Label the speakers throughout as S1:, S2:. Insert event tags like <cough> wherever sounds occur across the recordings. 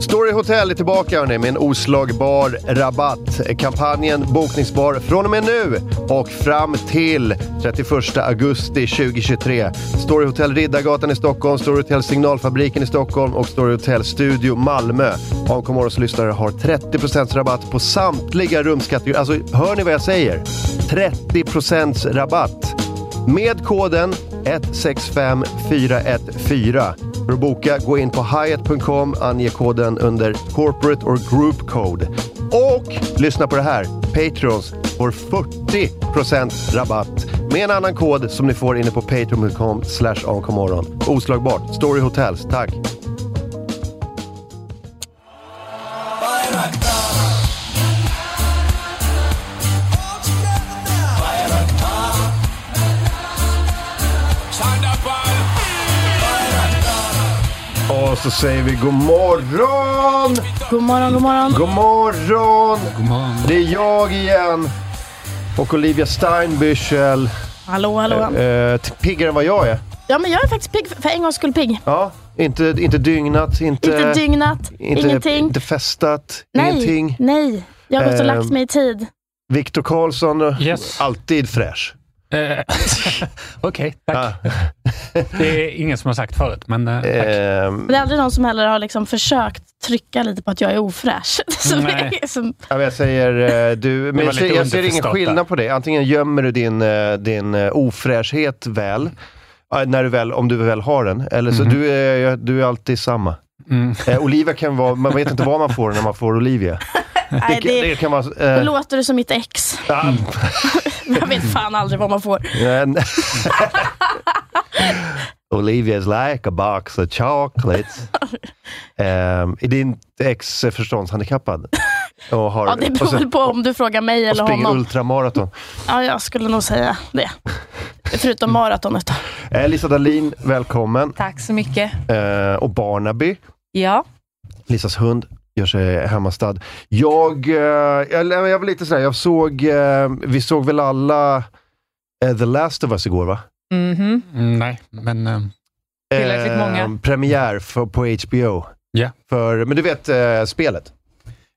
S1: Story Hotel är tillbaka hörni, med en oslagbar rabatt. Kampanjen bokningsbar från och med nu och fram till 31 augusti 2023. Story Hotel Riddargatan i Stockholm, Story Hotel Signalfabriken i Stockholm och Story Hotel Studio Malmö. AMK Morgons lyssnare har 30% rabatt på samtliga rumskategorier. Alltså, hör ni vad jag säger? 30% rabatt! Med koden 165414. För att boka, gå in på hyatt.com, ange koden under Corporate or Group Code. Och lyssna på det här! Patrons får 40% rabatt med en annan kod som ni får inne på patreon.com slash onkomorgon. Oslagbart! Story Hotels, tack! Och så säger vi god morgon!
S2: God morgon, god morgon.
S1: God morgon! Det är jag igen och Olivia Steinbüchel.
S2: Hallå, hallå.
S1: Eh, t- piggare än vad jag är.
S2: Ja, men jag är faktiskt pigg. För en gångs skull pigg.
S1: Ja, inte, inte dygnat, inte...
S2: Inte dygnat,
S1: inte,
S2: ingenting.
S1: Inte festat,
S2: nej,
S1: ingenting.
S2: nej. Jag har gått och
S1: Ehm.
S2: lagt mig i tid.
S1: Viktor Karlsson, eh,
S3: Yes.
S1: alltid fräsch.
S3: Eh, <laughs> Okej, tack.
S1: Ja,
S3: <laughs> Det är ingen som har sagt förut, men eh, tack.
S1: ehm,
S2: Men det är aldrig någon som heller har liksom försökt trycka lite på att jag är ofräsch. <laughs> Som
S3: Nej.
S2: är, som,
S1: ja, men jag säger eh, du, men
S3: var
S1: jag ser,
S3: lite
S1: jag ser ingen
S3: underförstått där.
S1: skillnad på det. Antingen gömmer du din, eh, din eh, ofräschhet väl, eh, när du väl, om du väl har den, eller så du, är, du är alltid samma.
S3: Mm.
S1: Eh, Olivia kan vara, man vet inte vad man får när man får Olivia.
S2: nej,
S1: Det,
S2: det,
S1: det kan vara...
S2: nu
S1: eh,
S2: låter du som mitt ex.
S1: ah,
S2: Jag vet fan aldrig vad man får.
S1: And Olivia's like a box of chocolates. um, är din ex förståndshandikappad? Och, har,
S2: Ja, det
S1: och,
S2: beror
S1: sen-
S2: väl på om du frågar mig
S1: och
S2: eller
S1: springer
S2: honom.
S1: ultramaraton.
S2: Ja, jag skulle nog säga det. Förutom maratonet. då.
S1: Eh, Lisa Dahlin, välkommen.
S4: Tack så mycket.
S1: Eh, och Barnaby,
S4: Ja,
S1: Lisas hund, gör sig hemmastad. Jag, eh, jag, jag var lite sådär, jag såg, eh, vi såg väl alla eh, The Last of Us igår va?
S4: mhm.
S3: Mm, nej, men eh,
S4: Tillräckligt många.
S1: Ehm, Premiär för, på HBO.
S3: Ja.
S1: För, men du vet eh, spelet?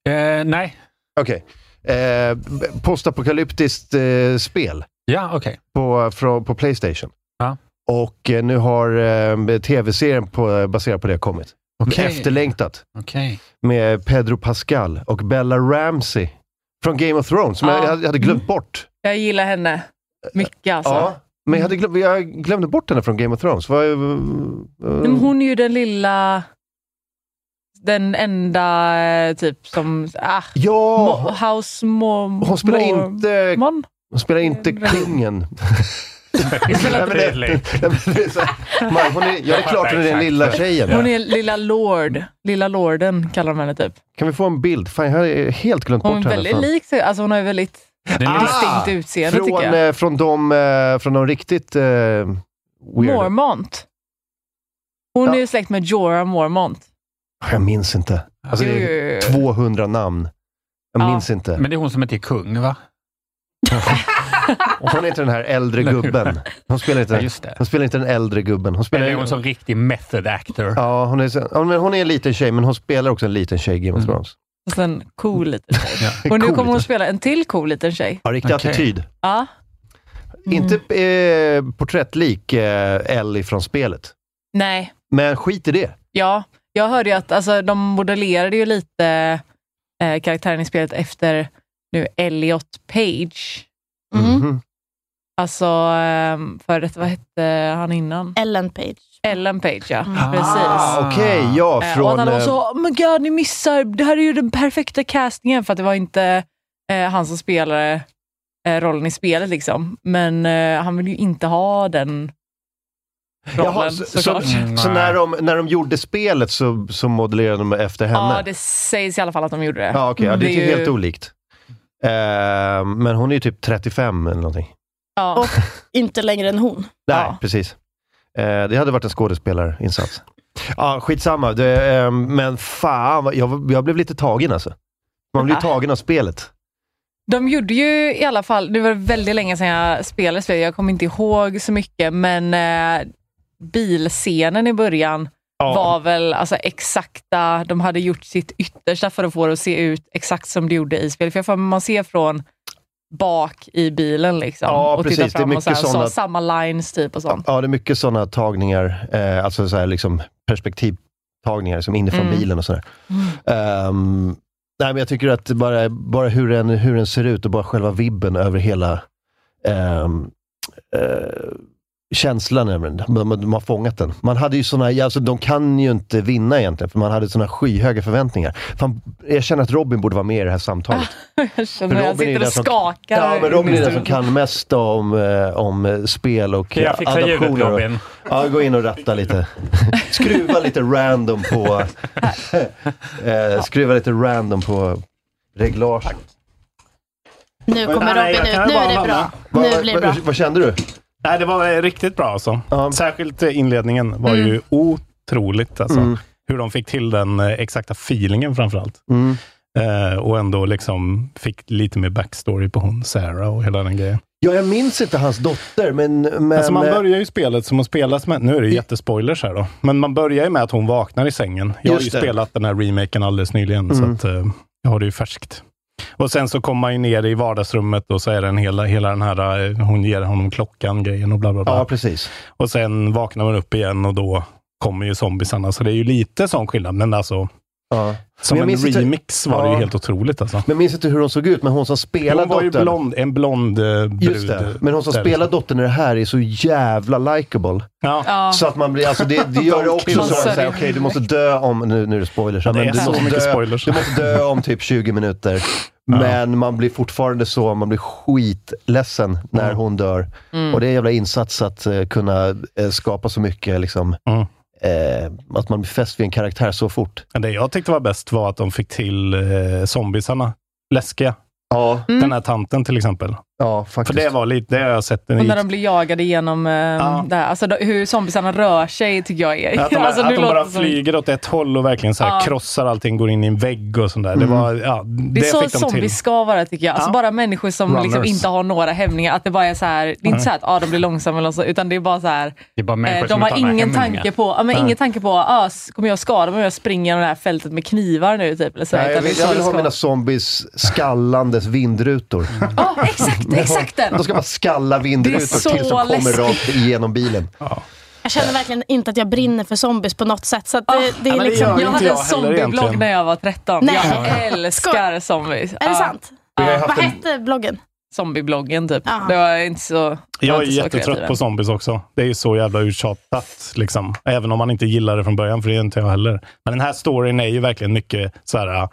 S3: eh, nej.
S1: Okej. Eh, b- postapokalyptiskt eh, spel
S3: Ja, okej.
S1: på, från, på Playstation.
S3: Ja.
S1: Och eh, nu har eh, tv-serien på, baserad på det kommit.
S3: Okej.
S1: Efterlängtat.
S3: Okej.
S1: Med Pedro Pascal och Bella Ramsey från Game of Thrones, som
S4: Ja.
S1: jag, jag hade glömt bort.
S4: jag gillar henne mycket alltså.
S1: Ja. Men jag, hade glöm, jag glömde bort henne från Game of Thrones. Vad, eh,
S4: Men hon är ju den lilla, den enda eh, typ som, ah,
S1: ja,
S4: mo, house mom.
S1: hon spelar,
S4: mor-
S1: inte,
S4: Mon.
S1: hon spelar inte
S4: Ren- <laughs>
S1: kungen. Nej, men det-
S3: Tydligt.
S1: Nej, men det är så här, man, hon är, ja, det är klart hon är den lilla tjejen.
S4: Hon är lilla lord. Lilla lorden kallar de henne typ.
S1: Kan vi få en bild? Fan, jag har helt glömt bort
S4: Hon är
S1: henne.
S4: väldigt
S1: fan.
S4: lik, sig- alltså hon har ju väldigt
S3: Den är lite-
S1: Ah!
S4: distinkt utseende
S1: från,
S4: tycker jag.
S1: eh, från, de, eh, från de riktigt eh, weird.
S4: Mormont. Hon
S1: Ja.
S4: är ju släkt med Jorah Mormont.
S1: Ah, Jag minns inte. Alltså, det
S4: Jo,
S1: är
S4: jo, jo.
S1: 200 namn. Jag
S4: Ja.
S1: minns inte.
S3: Men det är hon som inte är kung, <laughs> va?
S1: Och Hon är inte den här äldre gubben. Hon spelar
S3: Ja,
S1: inte,
S3: just det.
S1: hon spelar inte den äldre gubben. Hon
S3: Eller är hon
S1: spelar,
S3: som riktig method actor?
S1: ja, hon, är, så- ja, men hon är en liten tjej, men hon spelar också en liten tjej i Game of
S3: Mm.
S1: Thrones.
S4: Och sen cool liten
S1: <laughs>
S4: tjej.
S3: Ja.
S4: Och nu
S1: Cool
S4: kommer hon
S1: liten-
S4: spela en till cool liten tjej.
S1: Ja, riktig
S3: Okej.
S1: attityd.
S4: Ja.
S1: Inte eh, porträttlik eh, Ellie från spelet.
S4: Nej,
S1: Men skit i det.
S4: ja. Jag hörde ju att alltså, de modellerade ju lite eh, karaktären i spelet efter nu Elliot Page.
S1: Mhm.
S4: Alltså, eh, för detta, vad hette han innan?
S2: Ellen Page.
S4: Ellen Page, ja.
S2: Mm.
S4: Precis.
S1: Ah, Okej, ja.
S4: Eh, och
S1: Från,
S4: att alla var
S1: eh,
S4: så, oh my god, ni missar, det här är ju den perfekta castingen, för att det var inte eh, han som spelade eh, rollen i spelet. liksom. Men eh, han ville ju inte ha den rollen
S1: Jaha, så, så,
S4: såklart.
S1: så när, de, när de gjorde spelet så, så modellerade de efter henne?
S4: ja, det sägs i alla fall att de gjorde det.
S1: Ja, okej. Ja, det är ju
S4: ju-
S1: helt olikt. Eh, men hon är ju typ 35 eller någonting.
S4: Ja.
S2: Och- Inte längre än hon.
S1: Nej,
S4: Ja.
S1: precis. Eh, det hade varit en skådespelarinsats. Ja, skitsamma. Det, eh, men fan, vad- jag, jag blev lite tagen alltså. Man blir
S4: Ja.
S1: tagen av spelet.
S4: De gjorde ju i alla fall, det var väldigt länge sedan jag spelade spelet, jag kommer inte ihåg så mycket, men eh, bilscenen i början var väl alltså exakta, de hade gjort sitt yttersta för att få det att se ut exakt som det gjorde i spelet. För jag får man ser från bak i bilen liksom.
S1: Ja,
S4: och
S1: precis. Det är
S4: tittar fram och
S1: mycket
S4: så här,
S1: såna-
S4: så, samma lines typ och sånt.
S1: Ja, det är mycket sådana tagningar, eh, alltså så här liksom perspektivtagningar som inifrån
S4: Mm.
S1: bilen och sådär. Ehm, nej, men jag tycker att bara, bara hur, den, hur den ser ut och bara själva vibben över hela ehm, eh, känslan, över den. de, de, de har fångat den. Man hade ju såna, alltså, de kan ju inte vinna egentligen, för man hade såna skyhöga förväntningar. Fan, jag känner att Robin borde vara med i det här samtalet.
S4: Jag känner att jag
S1: Robin är
S4: sitter
S1: den
S4: och
S1: som-
S4: skakar.
S1: Ja, men Robin är den som kan mest om, eh, om eh, spel och
S5: Kan jag fixa
S1: adaptioner
S5: ljudet
S1: och-
S5: Robin?
S1: Ja, gå in och ratta
S3: <laughs>
S1: lite. Skruva lite random på... eh, skruva lite random på reglagen.
S2: Nu kommer
S3: Nej, jag
S2: Robin
S3: kan
S2: ut. Nu
S3: bara
S2: är det bra.
S3: lämna.
S2: Nu blir det bra.
S1: vad, vad kände du?
S3: Nej, det var eh, riktigt bra alltså.
S1: Ja.
S3: Särskilt eh, inledningen var ju otroligt alltså.
S1: Mm.
S3: Hur de fick till den eh, exakta feelingen framför allt.
S1: Mm.
S3: Eh, och ändå liksom fick lite mer backstory på hon, Sarah och hela den grejen.
S1: Ja, jag minns inte hans dotter, men... men
S3: alltså man
S1: eh,
S3: börjar ju spelet som hon spelas med. Nu är det ju
S1: I-
S3: jättespoilers här då. Men man börjar ju med att hon vaknar i sängen. Jag har ju
S1: Just det. Mm.
S3: spelat den här remaken alldeles nyligen, så att, eh, jag har det ju färskt. Och sen så kommer man ju ner i vardagsrummet och så är den hela, hela den här, eh, hon ger honom klockan-grejen och bla bla bla.
S1: Ja, precis.
S3: Och sen vaknar man upp igen och då kommer ju zombisarna. Så det är ju lite sån skillnad, men alltså
S1: Ja.
S3: som
S1: jag
S3: en
S1: minns inte-
S3: remix var det
S1: Ja.
S3: ju helt otroligt alltså.
S1: Men jag minns inte hur hon såg ut, men hon som spelar
S3: Hon var ju
S1: dottern...
S3: blond, en blond eh, brud.
S1: Just det, men hon som
S3: där. liksom.
S1: spelar dottern i det här är så jävla likeable.
S3: Ja.
S4: Ja. Alltså,
S1: Så att man blir, alltså det, det gör det också så
S3: killar.
S1: att man säger,
S4: Sorry.
S1: okej du måste dö om, nu, nu är det spoilers, här,
S3: Det
S1: men
S3: är
S1: du,
S3: så
S1: måste
S3: mycket
S1: dö,
S3: spoilers.
S1: du måste dö om typ 20
S3: <laughs>
S1: minuter. Men man blir fortfarande så, man blir skitledsen när
S3: Mm.
S1: hon dör. Och det är en jävla insats att eh, kunna eh, skapa så mycket, liksom,
S3: Mm.
S1: eh, att man blir fäst vid en karaktär så fort.
S3: Men det jag tyckte var bäst var att de fick till eh, zombisarna. Läskiga.
S1: Ja,
S4: Mm.
S3: Den här tanten till exempel.
S1: ja
S3: För
S1: faktiskt.
S3: det var lite, det har jag sett. Den
S4: Och
S3: gick,
S4: när de blir jagade genom eh, det här. Alltså, de- hur zombisarna rör sig tycker jag är... <laughs>
S3: att de,
S4: alltså,
S3: att
S4: nu
S3: de
S4: låter
S3: bara
S4: det som-
S3: flyger åt ett håll och verkligen så här
S4: Ja.
S3: krossar allting, går in i en vägg och sånt där.
S1: Mm.
S3: Det, var, ja,
S4: Det
S3: det,
S4: är så
S3: fick de till.
S4: zombies ska vara tycker jag. Alltså
S3: Ja.
S4: bara människor som
S5: Runners.
S4: liksom inte har några hämningar. Att det bara är så här, det är inte så här att ah, de blir långsamma eller så, utan det är bara så här.
S5: Det är bara människor
S4: Eh,
S5: som
S4: de har
S5: inte några
S4: ingen
S5: hämningar.
S4: tanke på, ja, men ingen tanke på, ah, s- kommer jag skada mig om jag springer genom det här fältet med knivar nu typ? Eller så,
S1: Nej, jag,
S4: utan det är
S1: vill,
S4: så
S1: jag vill
S4: det
S1: ha
S4: ska
S1: mina <laughs>
S4: vara.
S1: zombies skallandes vindrutor.
S4: Ja, exakt, exakt den!
S1: De ska bara skalla vindrutor
S4: så
S1: tills de kommer
S4: läskigt.
S1: rakt igenom bilen.
S2: Jag känner verkligen inte att jag brinner för zombies på något sätt. Så att det, det
S3: men
S2: är
S3: det
S2: liksom...
S3: gör
S4: Jag hade en
S3: jag heller
S4: zombieblogg
S3: egentligen.
S4: när jag var 13.
S2: Nej.
S4: Jag älskar zombies.
S2: Är det
S4: Ja,
S2: sant? Eh,
S1: Vi har ju
S2: Vad
S1: haft en-
S2: hette bloggen?
S4: Zombiebloggen typ.
S2: Ja.
S4: Det var inte så... var
S3: Jag är
S4: inte så kreativ
S3: jättetrött
S4: än.
S3: på zombies också. Det är ju så jävla uttjatat, liksom. Även om man inte gillar det från början, för det är inte jag heller. Men den här storyn är ju verkligen mycket så här, äh,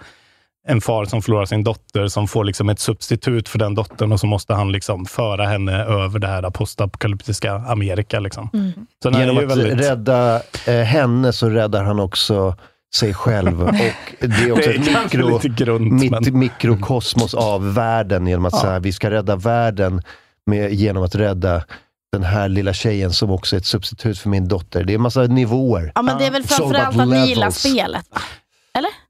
S3: en far som förlorar sin dotter, som får liksom ett substitut för den dottern och så måste han liksom föra henne över det här postapokalyptiska Amerika. Liksom. Så den
S1: Genom
S3: är ju
S1: att
S3: väldigt...
S1: rädda eh, henne så räddar han också sig
S3: <laughs>
S1: själv. Och det är också
S3: det
S1: ett
S3: är kanske
S1: mikro,
S3: lite grunt, men...
S1: mitt, mikrokosmos av världen. Genom att
S3: Ja.
S1: så här, vi ska rädda världen med, genom att rädda den här lilla tjejen som också är ett substitut för min dotter. Det är en massa nivåer.
S2: Ja, men det är väl
S1: It's all
S2: framförallt
S1: about
S2: att ni gillar
S1: levels.
S2: spelet. va?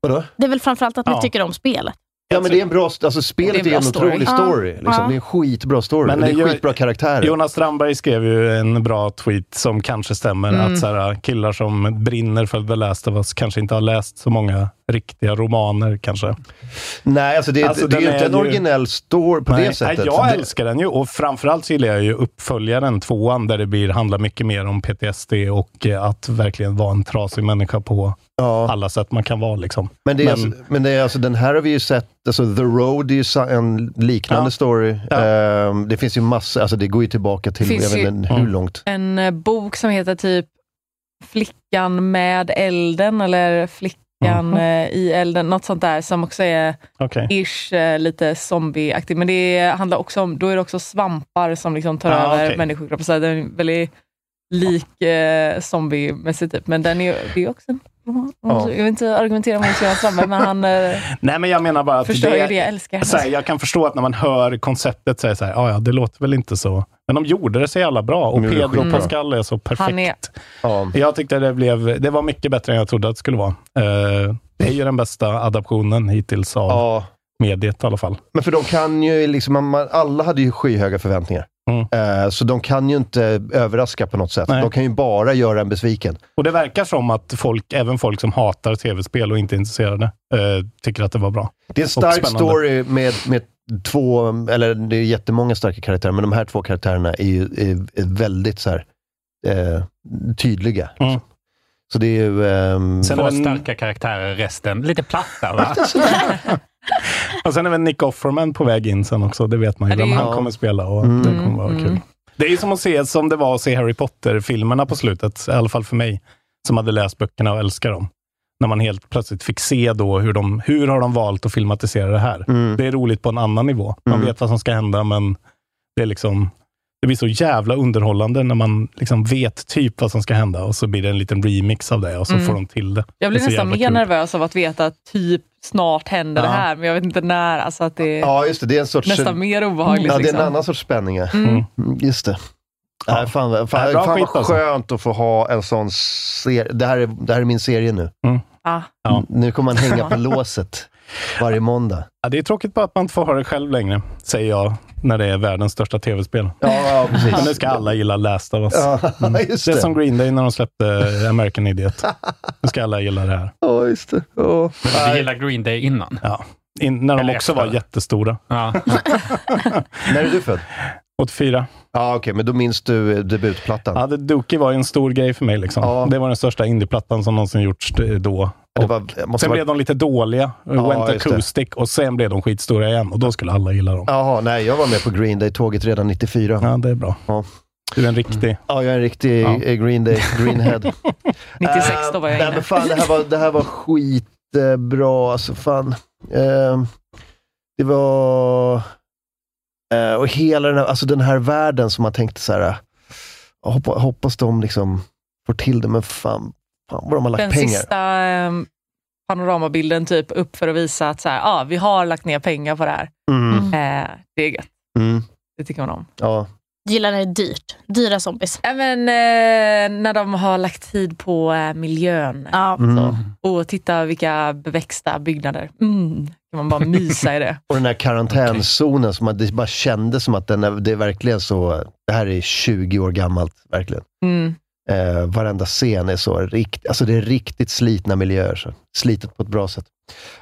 S1: Vadå?
S2: Det är väl framförallt att ni
S3: Ja.
S2: tycker om spelet.
S1: Ja, men det är en bra, alltså spelet
S4: Det är
S1: är,
S4: en bra
S1: en
S4: story.
S1: otrolig
S2: Ja.
S1: story. Liksom.
S2: Ja.
S1: Det är en skitbra story.
S3: Men,
S1: och det är
S3: eh, jag-
S1: skitbra karaktärer.
S3: Jonas Strandberg skrev ju en bra tweet som kanske stämmer. Att så här, äh, killar som brinner för The Last of Us kanske inte har läst så många riktiga romaner. kanske.
S1: Nej, alltså det, är-
S3: Alltså,
S1: det är
S3: den
S1: ju inte
S3: är
S1: en
S3: ju-
S1: originell story på
S3: Nej,
S1: det sättet.
S3: nej, jag
S1: Det-
S3: älskar den ju och framförallt så gillar jag ju uppföljaren, tvåan, där det blir, handlar mycket mer om PTSD och eh, att verkligen vara en trasig människa på alla sätt man kan vara. Liksom.
S1: Men, det är Alltså, men det är alltså, den här har vi ju sett, alltså The Road är ju sa- en liknande
S3: Ja.
S1: story. Ehm, det finns ju massor, alltså det går ju tillbaka till
S4: Finns
S1: jag
S4: ju-
S1: vet inte hur
S3: Mm.
S1: långt.
S4: En eh, bok som heter typ Flickan med elden eller
S3: Mhm.
S4: Flickan eh, i elden, något sånt där som också är
S3: Okej.
S4: ish, eh, lite zombieaktig. Men det handlar också om, då är det också svampar som liksom tar
S3: Ah,
S4: över
S3: okej.
S4: människokroppar. Så den är väldigt lik eh, zombiemässigt, typ. men den är, det är ju också en roman.
S3: Ja.
S4: Jag vill inte argumentera mot Johan Strandberg, men
S3: <laughs>
S4: han eh,
S3: Nej, men jag menar bara att
S4: förstör ju det jag älskar.
S3: Så här, jag kan förstå att när man hör konceptet så är det så här, "Ah, ja, det låter väl inte så. Men de gjorde det så jävla bra och
S1: De gjorde det
S3: Pedro
S1: skitbra.
S3: Pascal är så perfekt.
S4: Han är-
S1: Ja.
S3: Jag tyckte det, blev, det var mycket bättre än jag trodde att det skulle vara. Eh, det är ju den bästa adaptionen hittills av
S1: ja.
S3: mediet i alla fall.
S1: Men för de kan ju, liksom, man- man, alla hade ju skyhöga förväntningar.
S3: Mm.
S1: Ehm, så de kan ju inte överraska på något sätt.
S3: Nej.
S1: De kan ju bara göra en besviken.
S3: Och det verkar som att folk, även folk som hatar tv-spel och inte är intresserade, eh, tycker att det var bra.
S1: Det är en
S3: Och
S1: stark
S3: spännande.
S1: story med, med två, eller det är jättemånga starka karaktärer, men de här två karaktärerna är ju är, är väldigt så här, eh, tydliga. liksom.
S3: Mm.
S1: Så det är ju... ehm,
S6: Sen
S3: Var
S6: var
S3: en-
S6: starka karaktärer resten. Lite platta, va?
S3: <laughs> Och sen är väl Nick Offerman på väg in sen också, det vet man ju
S4: Ja, det är
S3: vem
S4: ju-
S3: han kommer spela och det kommer vara kul. Det är ju som att se som det var att se Harry Potter-filmerna på slutet, i alla fall för mig, som hade läst böckerna och älskar dem. När man helt plötsligt fick se då hur de, hur har de valt att filmatisera det här?
S1: Mm.
S3: Det är roligt på en annan nivå. Man
S1: Mm.
S3: vet vad som ska hända, men det är liksom det blir så jävla underhållande när man liksom vet typ vad som ska hända och så blir det en liten remix av det och så
S4: Mm.
S3: får de till det.
S4: Jag blir
S3: Det är så
S4: nästan
S3: jävla
S4: mer
S3: kul.
S4: nervös av att veta att typ snart händer
S3: Ja.
S4: det här, men jag vet inte när. Alltså att det är
S1: Ja, just det. Det är en sorts...
S4: nästan mer obehagligt.
S1: ja, det är
S4: liksom.
S1: en annan sorts spänning. ja.
S4: Mm.
S1: Mm, Just det.
S3: Ja.
S1: Nej, fan
S3: Det här
S1: fan,
S3: är bra
S1: fan vad
S3: skit alltså.
S1: skönt att få ha en sån serie. Det, här är- det här är min serie nu.
S4: Ja.
S3: Mm. Ja.
S1: Nu kommer man hänga
S4: <laughs>
S1: på låset varje måndag.
S3: Ja, det är tråkigt bara att man inte får ha det själv längre, säger jag, när det är världens största tv-spel.
S1: Ja, ja precis.
S3: Men nu ska alla gilla Last of Us. Mm.
S1: Ja, <laughs> just
S3: Det är
S1: det.
S3: som Green Day när de släppte eh, American Idiot. Nu ska alla gilla det här.
S1: Ja, just det. Ja.
S6: Men du gillar Green Day innan?
S3: Ja. In, när de
S6: Eller
S3: också
S6: efter.
S3: var jättestora.
S6: Ja.
S3: <laughs>
S1: När är du född?
S3: 84.
S1: Ja, okej, men då minns du eh, debutplattan.
S3: Ja, The Dookie var ju en stor grej för mig. Liksom.
S1: Ja.
S3: Det var den största indieplattan som någonsin gjorts eh, då.
S1: det
S3: Och
S1: var, det måste
S3: sen
S1: vara-
S3: blev de lite dåliga, eh,
S1: Ja,
S3: Went
S1: just det.
S3: Acoustic, och sen blev de skitstora igen. Och då skulle alla gilla dem.
S1: Jaha, nej, jag var med på Green Day-tåget redan 94. Ja,
S3: Ja, Mm. det är bra.
S1: Ja.
S3: Du är en riktig...
S1: jag är en riktig
S3: Ja.
S1: eh, Green Day, Greenhead. Eh,
S4: 96 då var jag
S1: nej,
S4: inne.
S1: men fan, det här var, det här var skitbra, alltså fan. Ehm, det var... eh, och hela den här, alltså den här världen som man tänkte så här, eh, hoppa, hoppas de liksom får till det, men fan, fan vad de har lagt
S4: Den
S1: pengar.
S4: sista ehm, panoramabilden typ upp för att visa att så här, ah, vi har lagt ner pengar på det här.
S1: Mm,
S4: Eh, det är gött.
S1: mm,
S4: Det tycker man om.
S1: ja.
S2: Gillar när det är dyrt. Dyra zombies.
S4: Även eh, när de har lagt tid på eh, miljön.
S2: Ja.
S1: Mm.
S4: Och titta vilka beväxta byggnader. Mm. Kan man bara mysa i det.
S1: Och den här karantänzonen, som man, det bara kändes som att den är, det är verkligen så, det här är 20 år gammalt, verkligen.
S4: Mm.
S1: Eh, varenda scen är så, rikt, alltså det är riktigt slitna miljöer. Så. Slitet på ett bra sätt.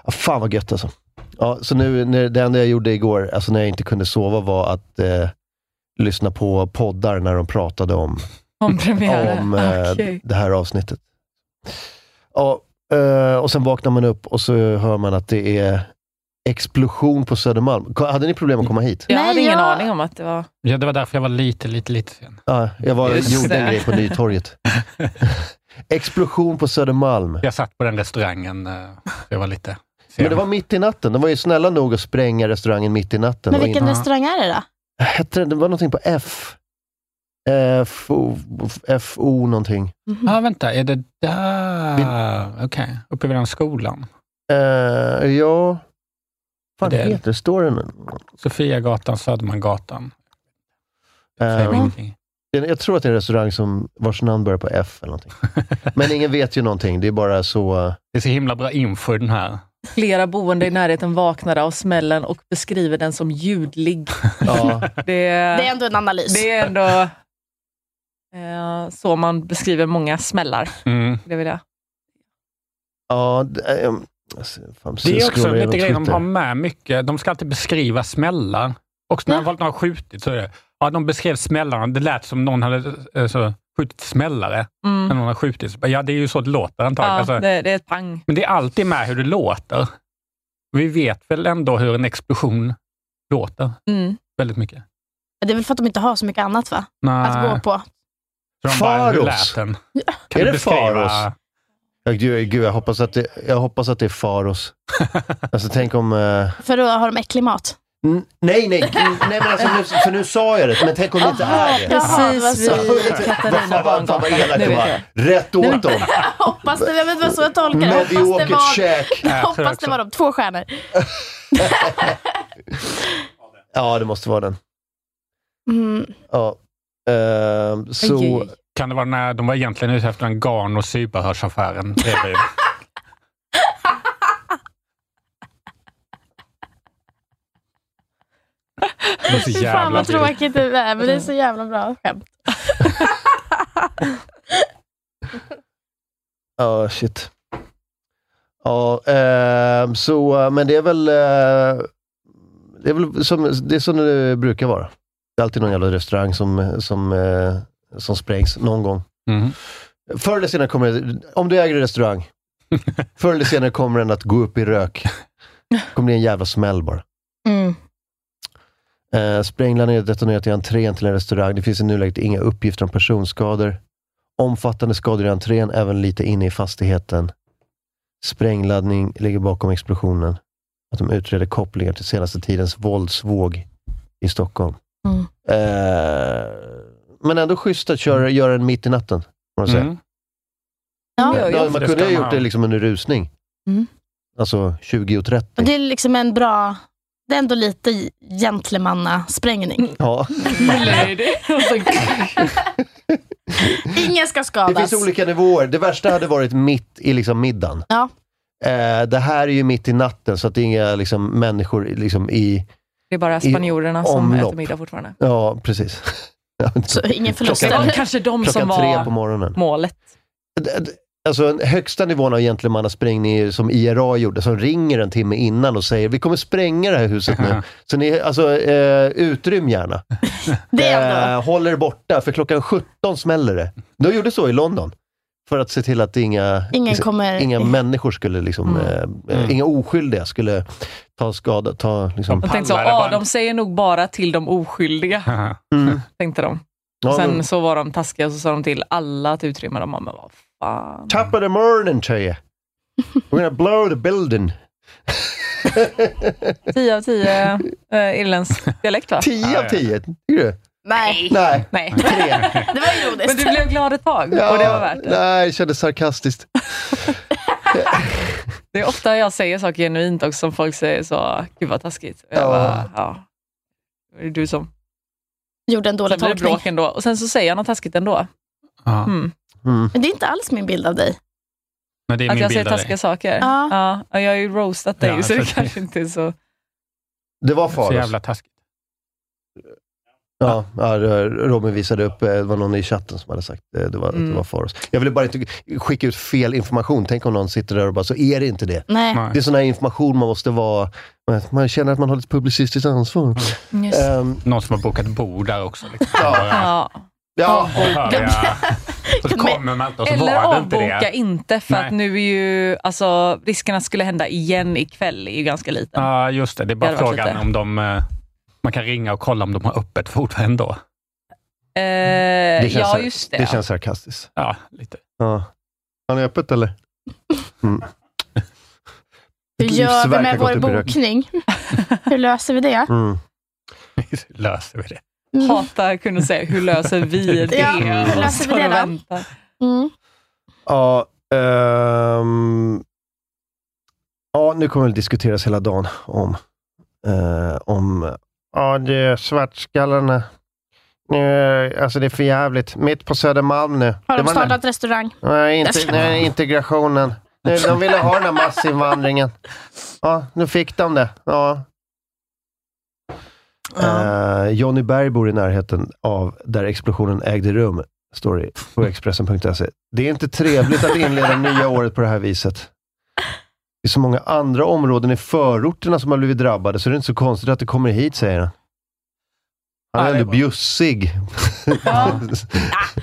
S1: Ja, fan vad gött alltså. Ja, så nu, när, det enda jag gjorde igår, alltså när jag inte kunde sova, var att eh, lyssna på poddar när de pratade om,
S4: Om premiären.
S1: om
S4: <laughs>
S1: eh,
S4: Okej.
S1: det här avsnittet. Ja, eh, och sen vaknar man upp och så hör man att det är explosion på Södermalm. Ko- Hade ni problem att komma hit?
S4: Jag
S2: Nej,
S4: hade ingen
S2: jag-
S4: aning om att det var...
S6: ja, det var därför jag var lite, lite, lite sen.
S1: Ja, jag var,
S4: Just
S1: gjorde en
S4: det.
S1: grej
S4: <laughs>
S1: på Nytorget. Explosion på Södermalm.
S6: Jag satt på den restaurangen. eh, Jag var lite sen.
S1: Men det var mitt i natten. De var ju snälla nog att spränga restaurangen mitt i natten.
S2: Men
S1: Och
S2: vilken
S6: in-
S2: restaurang är det då?
S1: in... hette det, det var någonting på F. Eh, FO, FO någonting.
S6: Ja, ah, vänta. Är det där? Okej. Uppe vid den skolan.
S1: Eh, ja... Vad
S6: Det är-
S1: heter det? Står den?
S6: Sofiagatan, Södermangatan. Säger mig
S1: Eh,
S6: ingenting.
S1: det- jag tror att det är en restaurang som, vars namn börjar på F eller någonting. Men ingen vet ju någonting. Det är bara så... eh,
S6: Det är så himla bra info i den här.
S4: Flera boende i närheten vaknade av smällen och beskriver den som ljudlig.
S1: Ja,
S4: Det,
S2: Det är ändå en analys.
S4: det är ändå eh, så man beskriver många smällar.
S6: Mm.
S4: Det vill jag.
S1: <laughs> ja, det, eh, alltså, fan,
S6: Det är också
S1: scrollar
S6: lite
S1: igenom
S6: grejer de
S1: Twitter.
S6: har med mycket. De ska alltid beskriva smällar. Också när
S2: Va?
S6: folk har skjutit så är det, ja, de beskrev smällarna. Det lät som någon hade eh, så,
S3: skjutsmällare.
S4: Mm.
S3: När någon har skjutit. så bara, Ja, det är ju så det låter antagligen.
S4: Ja,
S3: Alltså,
S4: det, det är ett pang.
S3: Men det är alltid med hur det låter. Vi vet väl ändå hur en explosion låter
S2: Mm.
S3: väldigt mycket.
S2: Det är väl för att de inte har så mycket annat va?
S3: Nej.
S2: Att gå på.
S3: Så de bara, hur
S1: Faros.
S3: lät den? Kan
S1: Är
S3: du
S1: det
S3: beskriva-
S1: Faros? Ja, gud, gud jag, hoppas att det, jag hoppas att det är Faros. alltså tänk om... eh,
S2: För då har de äcklig mat.
S1: n- nej, nej, n- nej men alltså, nu, för nu sa jag det, men tänk om det inte
S2: Jaha,
S1: är det.
S2: jaha, det var så.
S1: Vad fan, vad fan, vad elak
S4: Nu
S1: det
S4: vet
S1: var. Rätt åt dem.
S2: Hoppas det, jag vet inte vad så jag tolkar det. Hoppas det
S1: Mediokert
S2: var,
S1: käk.
S3: Nej, jag
S2: <laughs>
S3: tror
S2: hoppas det
S3: också.
S2: var de. Två stjärnor.
S1: Ja, det måste vara den.
S2: Mm.
S1: Ja. Ehm, så...
S4: Oj, oj, oj.
S3: Kan det vara när de var egentligen ute efter en garn och
S2: <laughs>
S3: sybehörsaffären bredvid? Det var så
S2: Fy fan
S3: jävla
S2: vad
S3: tråkigt.
S2: tråkigt det är, men det är så jävla bra skämt.
S1: Ja, shit. Ja, ehm, så, eh, men det är väl... eh, det är väl som det, är som det brukar vara. Det är alltid någon jävla restaurang som, som, eh, som sprängs någon gång.
S3: Mm.
S1: Förr eller senare kommer det, om du äger en restaurang, förr eller senare kommer den att gå upp i rök. kommer det en jävla smäll bara.
S2: Mm.
S1: Eh, Spränglarna är detonerat i entrén till en restaurang. Det finns i nuläget inga uppgifter om personskador. Omfattande skador i entrén, även lite inne i fastigheten. Sprängladdning ligger bakom explosionen. Att de utreder kopplingar till senaste tidens våldsvåg i Stockholm.
S2: Mm.
S1: Eh, men ändå schysst att
S2: Mm.
S1: köra, göra den mitt i natten. får Man, säga.
S3: Mm.
S2: Ja.
S4: Ja,
S1: Ja, man
S3: Det
S1: kunde
S3: ska
S1: ha
S3: man
S1: gjort
S3: ha.
S1: det liksom under rusning.
S2: Mm.
S1: Alltså 20 och 30.
S2: Och det är liksom en bra, det är ändå lite gentlemannasprängning.
S1: Ja.
S4: <laughs>
S2: Ingen ska
S1: Det
S2: skadas.
S1: finns olika nivåer. Det värsta hade varit mitt i liksom middagen.
S2: Ja.
S1: Eh, det här är ju mitt i natten, så att det är inga liksom, människor liksom, i...
S4: Det är bara spanjorerna som
S1: omlopp.
S4: äter middag fortfarande.
S1: Ja, precis. <laughs>
S2: Så ingen förlust.
S4: Det
S1: Klockan-
S4: var kanske de som
S1: Klockan tre på
S4: var
S1: morgonen.
S4: målet.
S1: D- d- Alltså, den högsta nivån av gentlemannasprängning är ju som IRA gjorde, som ringer en timme innan och säger vi kommer spränga det här huset nu. Så ni, alltså, eh, utrym gärna.
S2: Det är ändå.
S1: Eh, håll er borta, för klockan 17 smäller det. De gjorde så i London. För att se till att inga,
S2: Ingen kommer...
S1: inga människor skulle, liksom,
S4: Mm.
S1: eh, eh, inga oskyldiga skulle ta skada. Ta, liksom,
S4: Jag tänkte så,
S3: Pallare
S4: ah,
S3: band."
S4: de säger nog bara till de oskyldiga,
S3: Haha.
S4: <laughs>
S1: mm.
S4: tänkte de.
S1: Ja,
S4: Sen
S1: men-
S4: så var de taskiga och så sa de till alla att utrymma dem. Man bara, vad fan.
S1: Top of the morning
S4: <laughs>
S1: to you. We're gonna blow the building.
S4: 10 av 10 eh, irländsk dialekt va?
S1: 10 av 10, tycker du?
S2: Nej,
S1: Nej,
S4: Nej.
S1: <laughs> tre.
S2: det var ironiskt.
S4: Men du blev glad ett tag <laughs> och det var värt det.
S1: Nej, det kändes sarkastiskt.
S4: Det är ofta jag säger saker genuint också som folk säger så, gud vad taskigt. Och Jag
S1: Ja.
S4: bara, ja. Det är du som...
S2: Gjorde en
S4: Sen
S2: dålig
S4: blir det
S2: tolkning.
S4: bråk ändå. Och sen så säger jag något taskigt ändå.
S3: Ja.
S4: Mm.
S1: Mm.
S2: Men det är inte alls min bild av dig.
S3: Men det är
S4: Att
S3: min
S4: jag säger
S3: bild av dig.
S4: taskiga saker.
S2: Ja.
S4: Ja. och jag har ju roastat dig
S3: Ja,
S4: så det
S3: så-
S4: kanske inte är så...
S1: Det var
S3: Så
S1: Faros.
S3: jävla taskigt.
S1: Ja, ja, det- Robin visade upp, eh, det var någon i chatten som hade sagt eh, det var, att det
S4: Mm.
S1: var Faros. Jag ville bara inte skicka ut fel information. Tänk om någon sitter där och bara, så är det inte det.
S2: Nej.
S3: Nej.
S1: Det är sån här information man måste vara, man- man känner att man har ett publicistiskt ansvar. Ehm,
S3: Någon som har bokat bord där också. Liksom.
S1: Ja.
S4: Ja.
S1: ja,
S3: Och höra- Så kommer man inte och så
S4: Eller
S3: var det inte det.
S4: avboka inte, för
S3: Nej.
S4: att nu är ju alltså, risken att skulle hända igen ikväll är ju ganska liten.
S3: Ja, just det. Det är bara
S4: Det hade varit
S3: frågan
S4: lite.
S3: om de... eh, Man kan ringa och kolla om de har öppet fortfarande då.
S4: Eh,
S1: Det känns
S4: ja,
S1: här-
S4: just det.
S1: det känns sarkastiskt.
S3: Ja, lite.
S1: Ja. Har ni öppet
S2: <laughs>
S1: eller? Mm.
S2: Hur
S1: Ditt
S2: gör vi
S1: livsverk har
S2: med
S1: gått
S2: vår
S1: upp i
S4: <laughs>
S1: rök.
S2: bokning? Hur löser vi det?
S1: Mm.
S3: <laughs> löser vi det.
S2: Mm.
S4: Hatar att kunna säga, hur löser vi det?
S2: Ja, hur
S4: Och
S2: löser vi
S4: står
S2: det
S4: och
S2: då?
S4: väntar.
S2: Mm.
S1: Ja, ehm, ja, nu kommer det diskuteras hela dagen om... eh, om ja, det är svartskallarna. Nu, alltså det är för jävligt. Mitt på Södermalm nu.
S2: Har
S1: Det
S2: de
S1: var den-
S2: startat restaurang?
S1: Nej, inte, nej integrationen. Nu, de ville ha den här massinvandringen. Ja, nu fick de det. Ja. Eh, Johnny Berg bor i närheten av där explosionen ägde rum, står det på Expressen.se. Det är inte trevligt att inleda nya året på det här viset. Det är så många andra områden i förorterna som har blivit drabbade, så det är inte så konstigt att det kommer hit, säger han. Han är
S4: Ja, det är
S1: ändå
S4: bra.
S1: bjussig.
S4: Ja.